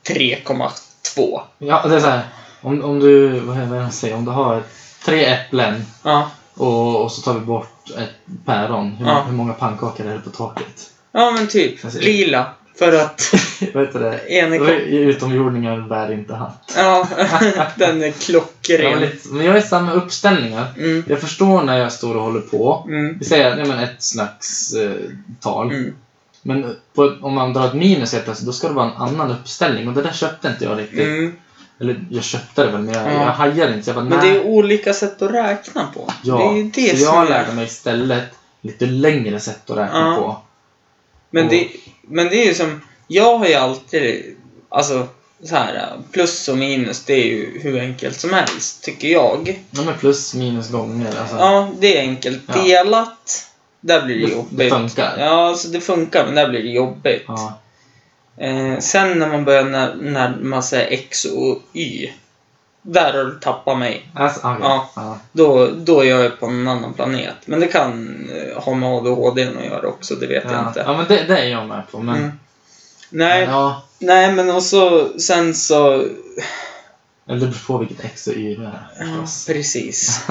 Speaker 2: 43,2.
Speaker 3: ja, det är så här. Om, om du, vad heter det jag säger, om du har tre äpplen
Speaker 2: Ja.
Speaker 3: och, och så tar vi bort ett päron. Hur,
Speaker 2: Ja.
Speaker 3: hur många pannkakor är det på taket? *laughs*
Speaker 2: Ja men typ,
Speaker 3: Alltså,
Speaker 2: lila. För
Speaker 3: *laughs*
Speaker 2: att
Speaker 3: vad heter det?
Speaker 2: en är klock...
Speaker 3: Utomjordingar bär inte hatt.
Speaker 2: Ja, *laughs* den är
Speaker 3: Ja, men
Speaker 2: klockren.
Speaker 3: lite- men jag är samma uppställningar.
Speaker 2: Mm,
Speaker 3: Jag förstår när jag står och håller på.
Speaker 2: mm,
Speaker 3: Vi säger nej, men ett slags eh, tal.
Speaker 2: mm.
Speaker 3: Men på, om man drar ett minus helt plötsligt, då ska det vara en annan uppställning. Och det där köpte inte jag riktigt.
Speaker 2: mm.
Speaker 3: Eller jag köpte det väl, men jag,
Speaker 2: Ja.
Speaker 3: jag hajade inte. Så jag bara,
Speaker 2: Men det
Speaker 3: nej.
Speaker 2: är olika sätt att räkna på.
Speaker 3: ja.
Speaker 2: Det är ju det
Speaker 3: Så
Speaker 2: som
Speaker 3: jag
Speaker 2: är...
Speaker 3: lärde mig istället lite längre sätt att räkna
Speaker 2: Ja.
Speaker 3: på.
Speaker 2: Men det, men det är ju som... Jag har ju alltid... Alltså, så här, plus och minus, det är ju hur enkelt som helst, tycker jag.
Speaker 3: Ja, men plus minus gånger. Alltså.
Speaker 2: Ja, det är enkelt.
Speaker 3: Ja.
Speaker 2: Delat, där blir det
Speaker 3: det,
Speaker 2: jobbigt.
Speaker 3: det funkar.
Speaker 2: Ja, så det funkar, men där blir det jobbigt.
Speaker 3: Ja.
Speaker 2: Eh, sen när man börjar när, närma sig X och Y. där har du tappat mig.
Speaker 3: Alltså, ah, ja. ja.
Speaker 2: Då, då är jag på en annan planet. Men det kan eh, ha med ADHD att göra också, det vet jag
Speaker 3: Ja.
Speaker 2: inte.
Speaker 3: ja, men det, det är jag med på. Men,
Speaker 2: Mm. Nej,
Speaker 3: men ja,
Speaker 2: nej, men och så sen så...
Speaker 3: eller det beror på vilket X och Y det är förstås. *laughs*
Speaker 2: precis.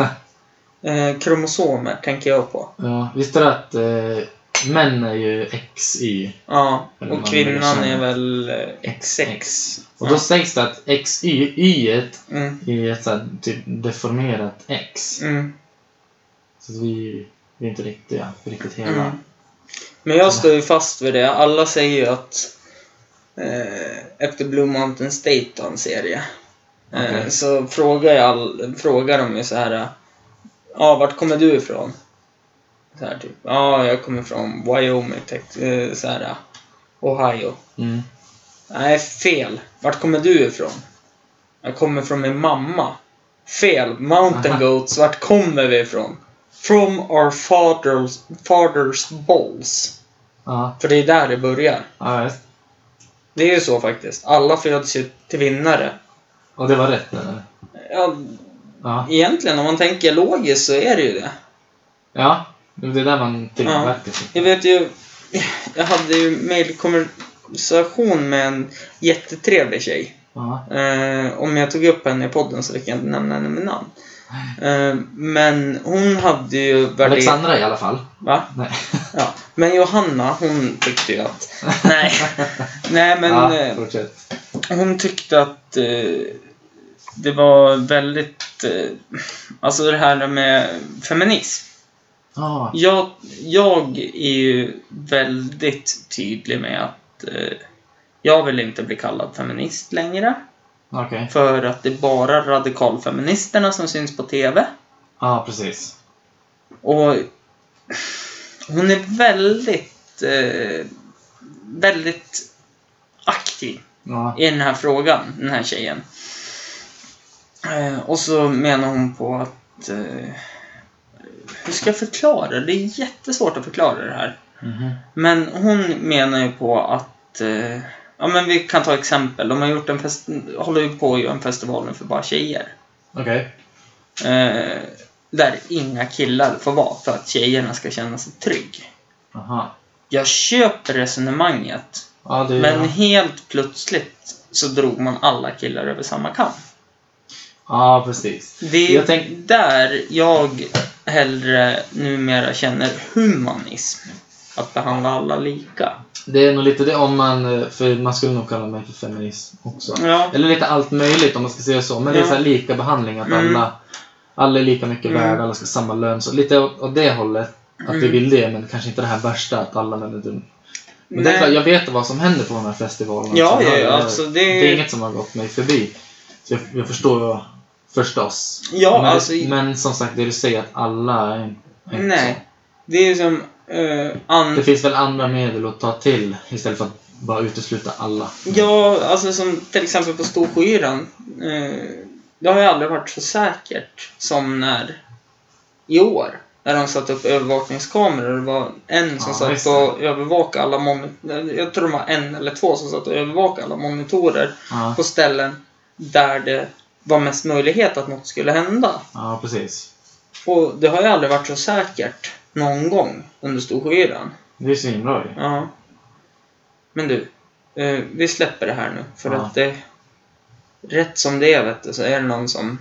Speaker 2: Eh, kromosomer tänker jag på.
Speaker 3: Ja, visst är det att eh, män är ju XY?
Speaker 2: Ja,
Speaker 3: Eller
Speaker 2: och
Speaker 3: vad
Speaker 2: kvinnan
Speaker 3: man nu
Speaker 2: är
Speaker 3: känner.
Speaker 2: väl eh, XX.
Speaker 3: Och då sägs det att XY, Y är
Speaker 2: Mm,
Speaker 3: ett så här, typ deformerat X.
Speaker 2: mm,
Speaker 3: Så att vi, vi är inte riktiga, riktigt hela.
Speaker 2: mm. Men jag står ju fast vid det. Alla säger ju att eh, efter Blue Mountain State har en serie. Eh,
Speaker 3: Okej.
Speaker 2: Så frågar, jag all, frågar de ju så här. eh, Ja, vart kommer du ifrån? Så här typ. Ja, jag kommer från Wyoming, Tex- eh, så här, eh, Ohio.
Speaker 3: Mm.
Speaker 2: Nej, fel. Vart kommer du ifrån? Jag kommer från min mamma. Fel. Mountain
Speaker 3: Aha.
Speaker 2: Goats, vart kommer vi ifrån? From our fathers, fathers balls.
Speaker 3: Ja,
Speaker 2: För det är där det börjar.
Speaker 3: ja visst.
Speaker 2: Det är ju så faktiskt. Alla föds ju till vinnare.
Speaker 3: Och det var rätt eller?
Speaker 2: Ja,
Speaker 3: Ja.
Speaker 2: egentligen om man tänker logiskt så är det ju det.
Speaker 3: Ja, men det är där man
Speaker 2: Ja.
Speaker 3: tillverkar
Speaker 2: Jag vet ju, jag hade ju mejlkonversation med en jättetrevlig tjej.
Speaker 3: Ja.
Speaker 2: Eh, om jag tog upp henne i podden så fick jag inte nämna henne med namn. Eh, men hon hade ju värderat...
Speaker 3: Alexandra i alla fall.
Speaker 2: Va?
Speaker 3: Nej.
Speaker 2: Ja. Men Johanna, hon tyckte ju att...
Speaker 3: *laughs*
Speaker 2: Nej. Nej, men
Speaker 3: ja,
Speaker 2: eh,
Speaker 3: fortsätt.
Speaker 2: hon tyckte att eh, det var väldigt... Eh, alltså det här med feminism.
Speaker 3: Ja.
Speaker 2: Jag, jag är ju väldigt tydlig med att eh, jag vill inte bli kallad feminist längre.
Speaker 3: Okej.
Speaker 2: För att det är bara radikalfeministerna som syns på TV.
Speaker 3: Ja, precis.
Speaker 2: Och hon är väldigt, eh, väldigt aktiv
Speaker 3: Ja.
Speaker 2: i den här frågan, den här tjejen. Eh, och så menar hon på att... Eh, hur ska jag förklara? Det är jättesvårt att förklara det här.
Speaker 3: Mhm.
Speaker 2: Men hon menar ju på att... Eh, ja, men vi kan ta exempel. De har gjort en fest, håller ju på att göra en festival nu för bara tjejer.
Speaker 3: Okej.
Speaker 2: Eh, där inga killar får vara för att tjejerna ska känna sig trygg.
Speaker 3: Aha.
Speaker 2: Jag köper resonemanget,
Speaker 3: Ja, det är...
Speaker 2: men helt plötsligt så drog man alla killar över samma kam.
Speaker 3: Ja, precis.
Speaker 2: Det är
Speaker 3: Jag tänk-
Speaker 2: där jag hellre numera känner humanism. Att behandla alla lika.
Speaker 3: Det är nog lite det om man... eh, För man skulle nog kalla mig för feminist också.
Speaker 2: Ja.
Speaker 3: Eller lite allt möjligt om man ska säga så. Men det är
Speaker 2: Ja.
Speaker 3: så här lika behandling. Att
Speaker 2: Mm.
Speaker 3: alla, alla är lika mycket
Speaker 2: Mm.
Speaker 3: värda, alla ska ha samma lön. Så lite åt åt det hållet. Att vi
Speaker 2: Mm.
Speaker 3: vill det, men kanske inte det här värsta att alla män är dumma. Men det är
Speaker 2: Nej.
Speaker 3: klart, jag vet vad som händer på de här festivalerna.
Speaker 2: Ja,
Speaker 3: Så
Speaker 2: ja,
Speaker 3: jag-
Speaker 2: ja,
Speaker 3: jag-
Speaker 2: alltså det-
Speaker 3: är inget som har gått mig förbi. Så jag, jag förstår förstås.
Speaker 2: Ja,
Speaker 3: men,
Speaker 2: alltså-
Speaker 3: men som sagt, det du säger att alla är, är inte
Speaker 2: Nej. Det är ju som... eh, an-
Speaker 3: så. Det finns väl andra medel att ta till istället för att bara utesluta alla.
Speaker 2: Ja, alltså som till exempel på Storsjöyran. Eh, det har ju aldrig varit så säkert som när i år. När de satte upp övervakningskameror och det var en som
Speaker 3: Ja,
Speaker 2: satt
Speaker 3: just
Speaker 2: och övervakade alla monitorer. Jag tror det var en eller två som satt och övervakade alla monitorer
Speaker 3: Ja,
Speaker 2: på ställen där det var mest möjlighet att något skulle hända.
Speaker 3: ja precis.
Speaker 2: Och det har ju aldrig varit så säkert någon gång under Storsjöyran.
Speaker 3: Det är ju svinbra ju.
Speaker 2: Ja. Men du, eh, vi släpper det här nu. För
Speaker 3: Ja.
Speaker 2: att det... Rätt som det är, vet du, så är det någon som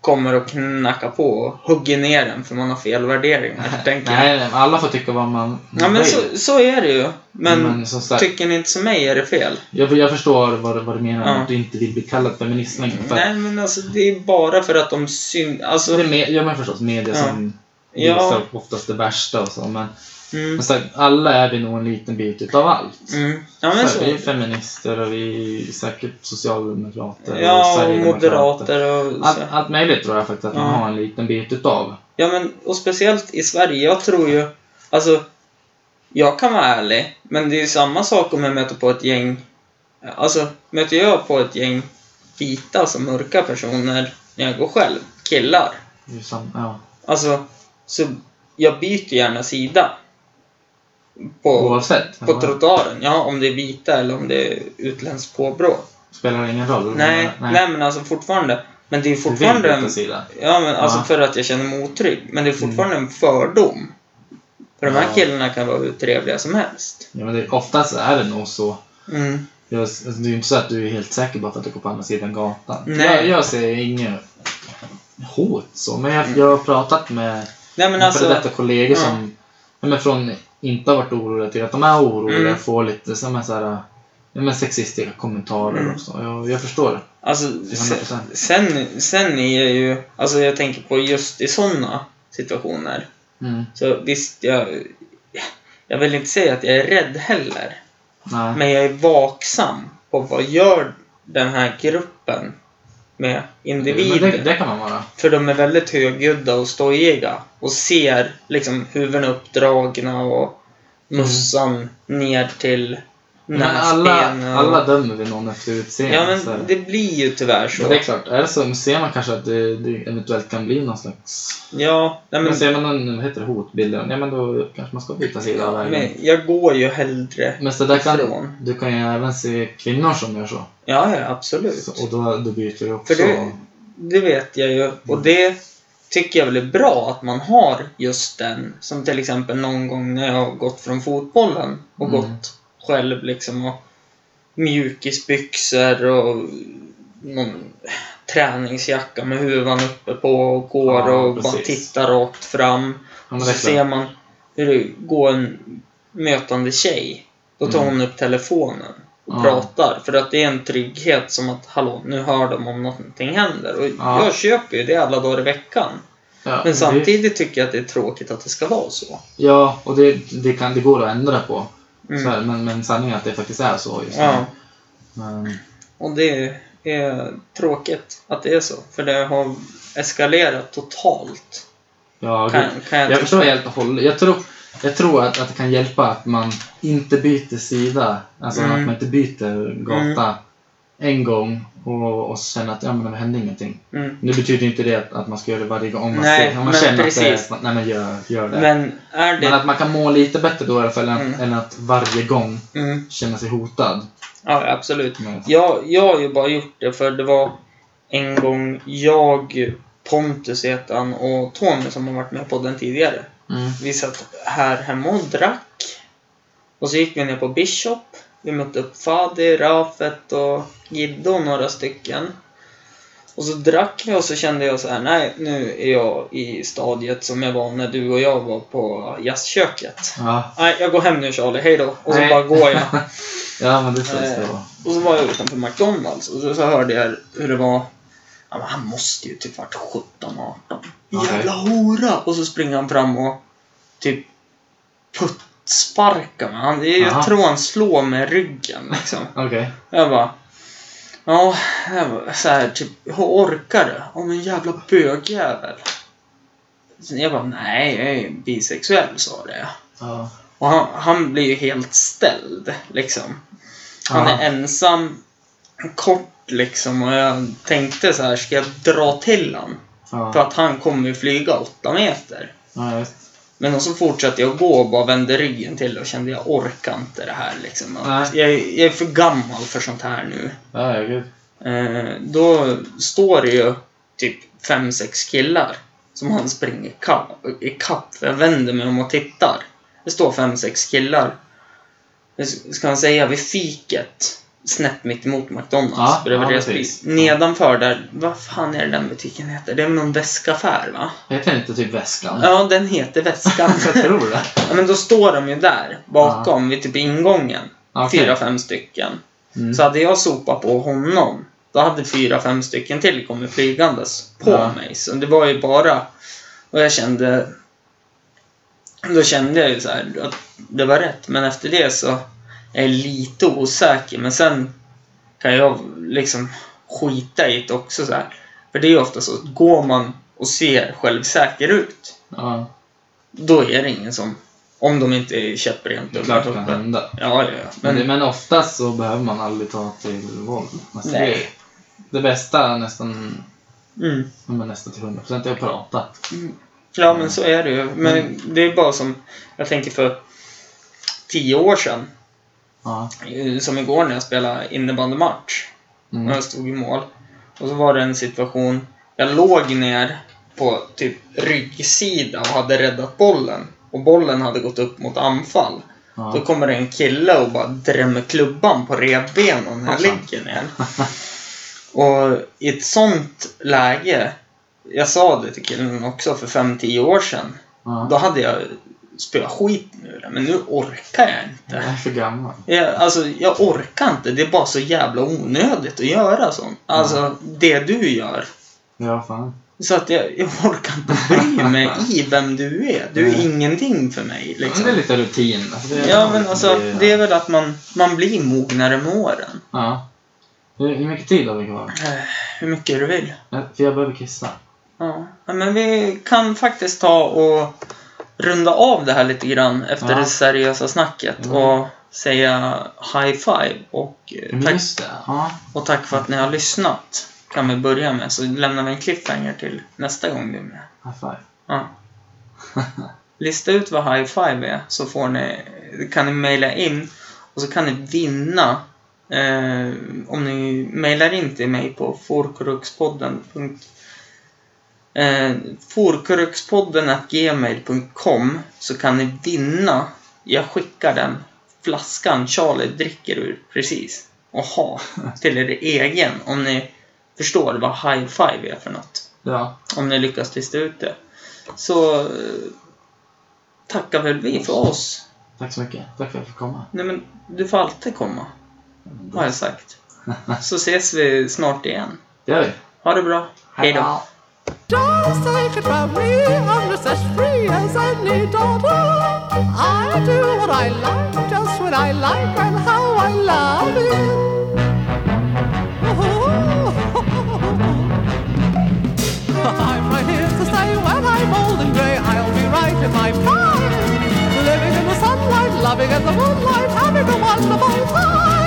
Speaker 2: kommer och knackar på och hugger ner en för man har fel värderingar,
Speaker 3: *laughs*
Speaker 2: tänker jag.
Speaker 3: Nej, nej, men alla får tycka vad man
Speaker 2: Ja, men
Speaker 3: vill.
Speaker 2: så, så är det ju. Men,
Speaker 3: Men som sagt-
Speaker 2: tycker ni inte som mig är det fel.
Speaker 3: jag, jag förstår vad, du- vad du menar
Speaker 2: Ja.
Speaker 3: att du inte vill bli kallad feminist längre. Mm. För
Speaker 2: Nej, men alltså det är bara för att de syns...
Speaker 3: Så
Speaker 2: Alltså,
Speaker 3: det är med, ja, men förstås media
Speaker 2: Ja.
Speaker 3: som
Speaker 2: Ja.
Speaker 3: visar oftast det värsta och så. Men,
Speaker 2: mm,
Speaker 3: men så här, alla är vi nog en liten bit utav allt.
Speaker 2: mm. Ja,
Speaker 3: Så
Speaker 2: men
Speaker 3: här,
Speaker 2: så.
Speaker 3: Vi är feminister och vi är säkert socialdemokrater
Speaker 2: Ja, och
Speaker 3: sverigedemokrater.
Speaker 2: moderater och
Speaker 3: Allt,
Speaker 2: så.
Speaker 3: allt möjligt tror jag faktiskt att man
Speaker 2: Ja.
Speaker 3: har en liten bit utav.
Speaker 2: Ja, men och speciellt i Sverige. Jag tror ju... Alltså, jag kan vara ärlig, men det är ju samma sak om jag möter på ett gäng... Alltså, möter jag på ett gäng vita, alltså mörka personer, när jag går själv, killar.
Speaker 3: Det är ju sam- Ja.
Speaker 2: Alltså, så jag byter gärna sida. På,
Speaker 3: Oavsett.
Speaker 2: på
Speaker 3: Ja,
Speaker 2: trottoaren, ja, om det är vita eller om det är utländskt påbrå.
Speaker 3: spelar det ingen roll.
Speaker 2: Nej,
Speaker 3: Mm, nej.
Speaker 2: nej men alltså fortfarande. Men det är
Speaker 3: Du vill
Speaker 2: fortfarande en...
Speaker 3: byta sida.
Speaker 2: Ja, men alltså
Speaker 3: Ja. Mm.
Speaker 2: för att jag känner mig otrygg. Men det är fortfarande en fördom. För de här
Speaker 3: Ja.
Speaker 2: killarna kan vara hur trevliga som helst.
Speaker 3: Ja, men det, oftast är det nog så.
Speaker 2: Mm.
Speaker 3: Jag, alltså, det är ju inte så att du är helt säker bara för att du går på andra sidan gatan.
Speaker 2: Nej.
Speaker 3: Jag, jag ser inget hot så, men jag, jag har pratat med
Speaker 2: Nej men
Speaker 3: men före
Speaker 2: alltså,
Speaker 3: detta kollegor
Speaker 2: ja.
Speaker 3: som ja, men från inte har varit oroliga till att de är oroliga
Speaker 2: Mm.
Speaker 3: får lite så här, så här, ja, men sexistiska kommentarer
Speaker 2: Mm.
Speaker 3: och så. Jag, jag förstår det.
Speaker 2: alltså sen,
Speaker 3: 100%.
Speaker 2: sen, sen är jag ju, alltså jag tänker på just i sådana situationer.
Speaker 3: Mm.
Speaker 2: Så visst, jag, jag vill inte säga att jag är rädd heller.
Speaker 3: Nej.
Speaker 2: Men jag är vaksam på vad gör den här gruppen med individer.
Speaker 3: Men det, det kan man vara.
Speaker 2: För de är väldigt högljudda och stojiga och ser liksom huvuden uppdragna och mössan ner till
Speaker 3: Men alla,
Speaker 2: näsbenen. och-
Speaker 3: alla dömer vi någon efter utseende.
Speaker 2: Ja
Speaker 3: så här.
Speaker 2: men det blir ju tyvärr
Speaker 3: Men
Speaker 2: så.
Speaker 3: det är klart, är det så ser man kanske att det, det eventuellt kan bli någon slags...
Speaker 2: Ja, nej, men,
Speaker 3: men ser man någon, vad heter det, hotbilder, ja men då kanske man ska byta sida av vägen.
Speaker 2: men jag går ju hellre.
Speaker 3: men så där kan,
Speaker 2: ifrån.
Speaker 3: du kan ju även se kvinnor som gör så.
Speaker 2: Ja, ja absolut.
Speaker 3: så och då, då byter du också.
Speaker 2: För det, det vet jag ju. Och det tycker jag väl är bra att man har just den. Som till exempel någon gång när jag har gått från fotbollen och
Speaker 3: Mm.
Speaker 2: gått själv liksom och mjukisbyxor och någon träningsjacka med huvan uppe på och går
Speaker 3: Ja,
Speaker 2: och bara
Speaker 3: precis.
Speaker 2: tittar rakt fram.
Speaker 3: ja, men det
Speaker 2: så
Speaker 3: är
Speaker 2: ser
Speaker 3: klart.
Speaker 2: man hur det går en mötande tjej. Då tar
Speaker 3: Mm.
Speaker 2: hon upp telefonen och
Speaker 3: Ja.
Speaker 2: pratar. För att det är en trygghet som att, hallå, nu hör de om någonting händer. Och
Speaker 3: Ja.
Speaker 2: jag köper ju det alla dagar i veckan.
Speaker 3: Ja,
Speaker 2: Men
Speaker 3: det-
Speaker 2: samtidigt tycker jag att det är tråkigt att det ska vara så.
Speaker 3: Ja, och det, det, kan, det går att ändra på.
Speaker 2: Mm.
Speaker 3: Så här, men, men sanningen är att det faktiskt är så just nu.
Speaker 2: Ja.
Speaker 3: Men,
Speaker 2: Och det är tråkigt att det är så. För det har eskalerat totalt.
Speaker 3: ja,
Speaker 2: Kan,
Speaker 3: gud.
Speaker 2: kan jag
Speaker 3: Jag
Speaker 2: tycka.
Speaker 3: förstår helt och hållet. Jag tror, jag tror att, att det kan hjälpa att man inte byter sida. Alltså
Speaker 2: Mm.
Speaker 3: att man inte byter gata en gång och, och känner att ja, men det hände ingenting.
Speaker 2: Mm.
Speaker 3: Nu betyder inte det att, att man ska göra det varje gång man
Speaker 2: Nej,
Speaker 3: ser. Om man
Speaker 2: men
Speaker 3: känner
Speaker 2: precis.
Speaker 3: att det är, nej, men gör, gör det. Men,
Speaker 2: Men är det...
Speaker 3: att man kan må lite bättre då i alla fall än,
Speaker 2: Mm.
Speaker 3: än att varje gång
Speaker 2: Mm.
Speaker 3: känna sig hotad.
Speaker 2: Ja, absolut.
Speaker 3: Men,
Speaker 2: Jag, jag har ju bara gjort det för det var en gång jag, Pontus heter han, och Tony som har varit med på den tidigare.
Speaker 3: mm,
Speaker 2: Vi satt här hemma och drack. Och så gick vi ner på Bishop. Vi mötte upp Fadi, Rafet och Giddo och några stycken. Och så drack vi och så kände jag så här, nej nu är jag i stadiet som jag var när du och jag var på jazzköket.
Speaker 3: ja.
Speaker 2: Nej, jag går hem nu Charlie, hejdå. Och så
Speaker 3: Nej.
Speaker 2: bara går jag.
Speaker 3: ja, men det är så det
Speaker 2: Eh,
Speaker 3: ska vara.
Speaker 2: Och så var jag utanför McDonalds och så, så hörde jag hur det var. Ja, men han måste ju typ varit 17, 18.
Speaker 3: Okej.
Speaker 2: Jävla hora! Och så springer han fram och typ puttsparkar mig. Han, jag
Speaker 3: Aha.
Speaker 2: tror han slår med ryggen liksom.
Speaker 3: Okej.
Speaker 2: Jag bara... Ja, jag bara, så här typ, hur orkar du? Ja men jävla bögjävel. Sen jag bara, nej jag är bisexuell sa det.
Speaker 3: Ja.
Speaker 2: Och han, han blir ju helt ställd liksom. Han
Speaker 3: Ja.
Speaker 2: är ensam, kort liksom och jag tänkte så här, ska jag dra till han? För
Speaker 3: Ja.
Speaker 2: att han kommer ju flyga åtta meter.
Speaker 3: Ja, just.
Speaker 2: Men och så fortsatte jag gå och bara vände ryggen till och kände jag orkar inte det här liksom. Att
Speaker 3: Nej.
Speaker 2: Jag, jag är för gammal för sånt här nu.
Speaker 3: Ja, ja, gud.
Speaker 2: Eh, då står det ju typ fem, sex killar som han springer ikapp. ikapp. Jag vänder mig om och tittar. Det står fem, sex killar. Det s- Ska man säga vid fiket? Snett mitt emot McDonalds,
Speaker 3: Ja,
Speaker 2: bredvid
Speaker 3: ja,
Speaker 2: deras
Speaker 3: precis.
Speaker 2: spis. Nedanför där, vad fan är det den butiken heter? Det är väl någon väskaffär va?
Speaker 3: Heter inte typ väskan?
Speaker 2: Ja, den heter Väskan.
Speaker 3: *laughs* jag tror det.
Speaker 2: ja, men då står de ju där, bakom, vid typ ingången.
Speaker 3: Okej.
Speaker 2: Fyra, fem stycken.
Speaker 3: Mm.
Speaker 2: Så hade jag sopat på honom, då hade fyra, fem stycken till kommit flygandes på
Speaker 3: Ja.
Speaker 2: mig. Så det var ju bara... Och jag kände... Då kände jag ju så här att det var rätt, men efter det så är jag lite osäker. Men sen kan jag liksom skita i det också så här. För det är ju ofta så att går man och ser självsäker ut,
Speaker 3: Ja,
Speaker 2: då är det ingen som... Om de inte är käpprent
Speaker 3: det är
Speaker 2: upp
Speaker 3: klart det kan hända.
Speaker 2: Ja, ja, ja.
Speaker 3: Men,
Speaker 2: Men,
Speaker 3: men oftast så behöver man aldrig ta till våld. Alltså,
Speaker 2: Nej.
Speaker 3: Det, det bästa är nästan,
Speaker 2: mm.
Speaker 3: ja, men nästan till 100% är att prata.
Speaker 2: Ja, men så är det ju. Men det är bara som, jag tänker för tio år sedan,
Speaker 3: Ja.
Speaker 2: eh, som igår när jag spelade innebandymatch, när
Speaker 3: Mm.
Speaker 2: jag stod i mål. Och så var det en situation, jag låg ner på typ ryggsida och hade räddat bollen. Och bollen hade gått upp mot anfall. Då
Speaker 3: Ja.
Speaker 2: kommer det en kille och bara drämmer klubban på revbenen när jag
Speaker 3: Hoppsan.
Speaker 2: ligger ner. Och i ett sånt läge, jag sa det till killen också för 5-10 år sedan. Då
Speaker 3: Ja.
Speaker 2: hade jag spöat skit nu men nu orkar jag
Speaker 3: Jag
Speaker 2: inte.
Speaker 3: är för gammal.
Speaker 2: Jag, alltså, jag orkar inte. Det är bara så jävla onödigt att göra sånt. Alltså, det du gör.
Speaker 3: Ja, fan.
Speaker 2: Så att jag, jag orkar inte bry
Speaker 3: *laughs*
Speaker 2: mig i vem du är. Du är
Speaker 3: Nej.
Speaker 2: ingenting för mig.
Speaker 3: Men Det är
Speaker 2: Liksom.
Speaker 3: lite rutin. Alltså, det är-
Speaker 2: Ja, men alltså, det är väl att man, man blir mognare med åren.
Speaker 3: Ja. Hur, hur mycket tid har vi kvar?
Speaker 2: Eh, Hur mycket du vill.
Speaker 3: Eh, För jag behöver kissa.
Speaker 2: Ja, Ja, men vi kan faktiskt ta och runda av det här lite grann efter
Speaker 3: Ja.
Speaker 2: det seriösa snacket
Speaker 3: Mm.
Speaker 2: och säga high five och, eh,
Speaker 3: Men
Speaker 2: tack,
Speaker 3: just det. Ja.
Speaker 2: och tack för att ni har lyssnat. Kan vi börja med, så lämnar vi en cliffhanger till nästa gång du är med.
Speaker 3: High five.
Speaker 2: Ja. Lista ut vad high five är så får ni, kan ni mejla in och så kan ni vinna eh, om ni mejlar in till mig på forkorukspodden. Eh, forkorukspodden.gmail.com så kan ni vinna, jag skickar den flaskan Charlie dricker ur precis och ha till er egen om ni förstår vad high five är för något
Speaker 3: Ja.
Speaker 2: om ni lyckas lista ut det. Så eh, tackar väl vi för oss.
Speaker 3: Tack så mycket. Tack för att jag fick komma.
Speaker 2: Nej men, du får alltid komma, har jag *laughs* sagt. Så ses vi snart igen.
Speaker 3: Det gör vi.
Speaker 2: Ha det bra. Hej då.
Speaker 1: Just take it from me, I'm just as free as any daughter. I do what I like, just when I like, and how I love it. *laughs* I'm right here to say when I'm old and grey, I'll be right in my prime. Living in the sunlight, loving in the moonlight, having a wonderful time.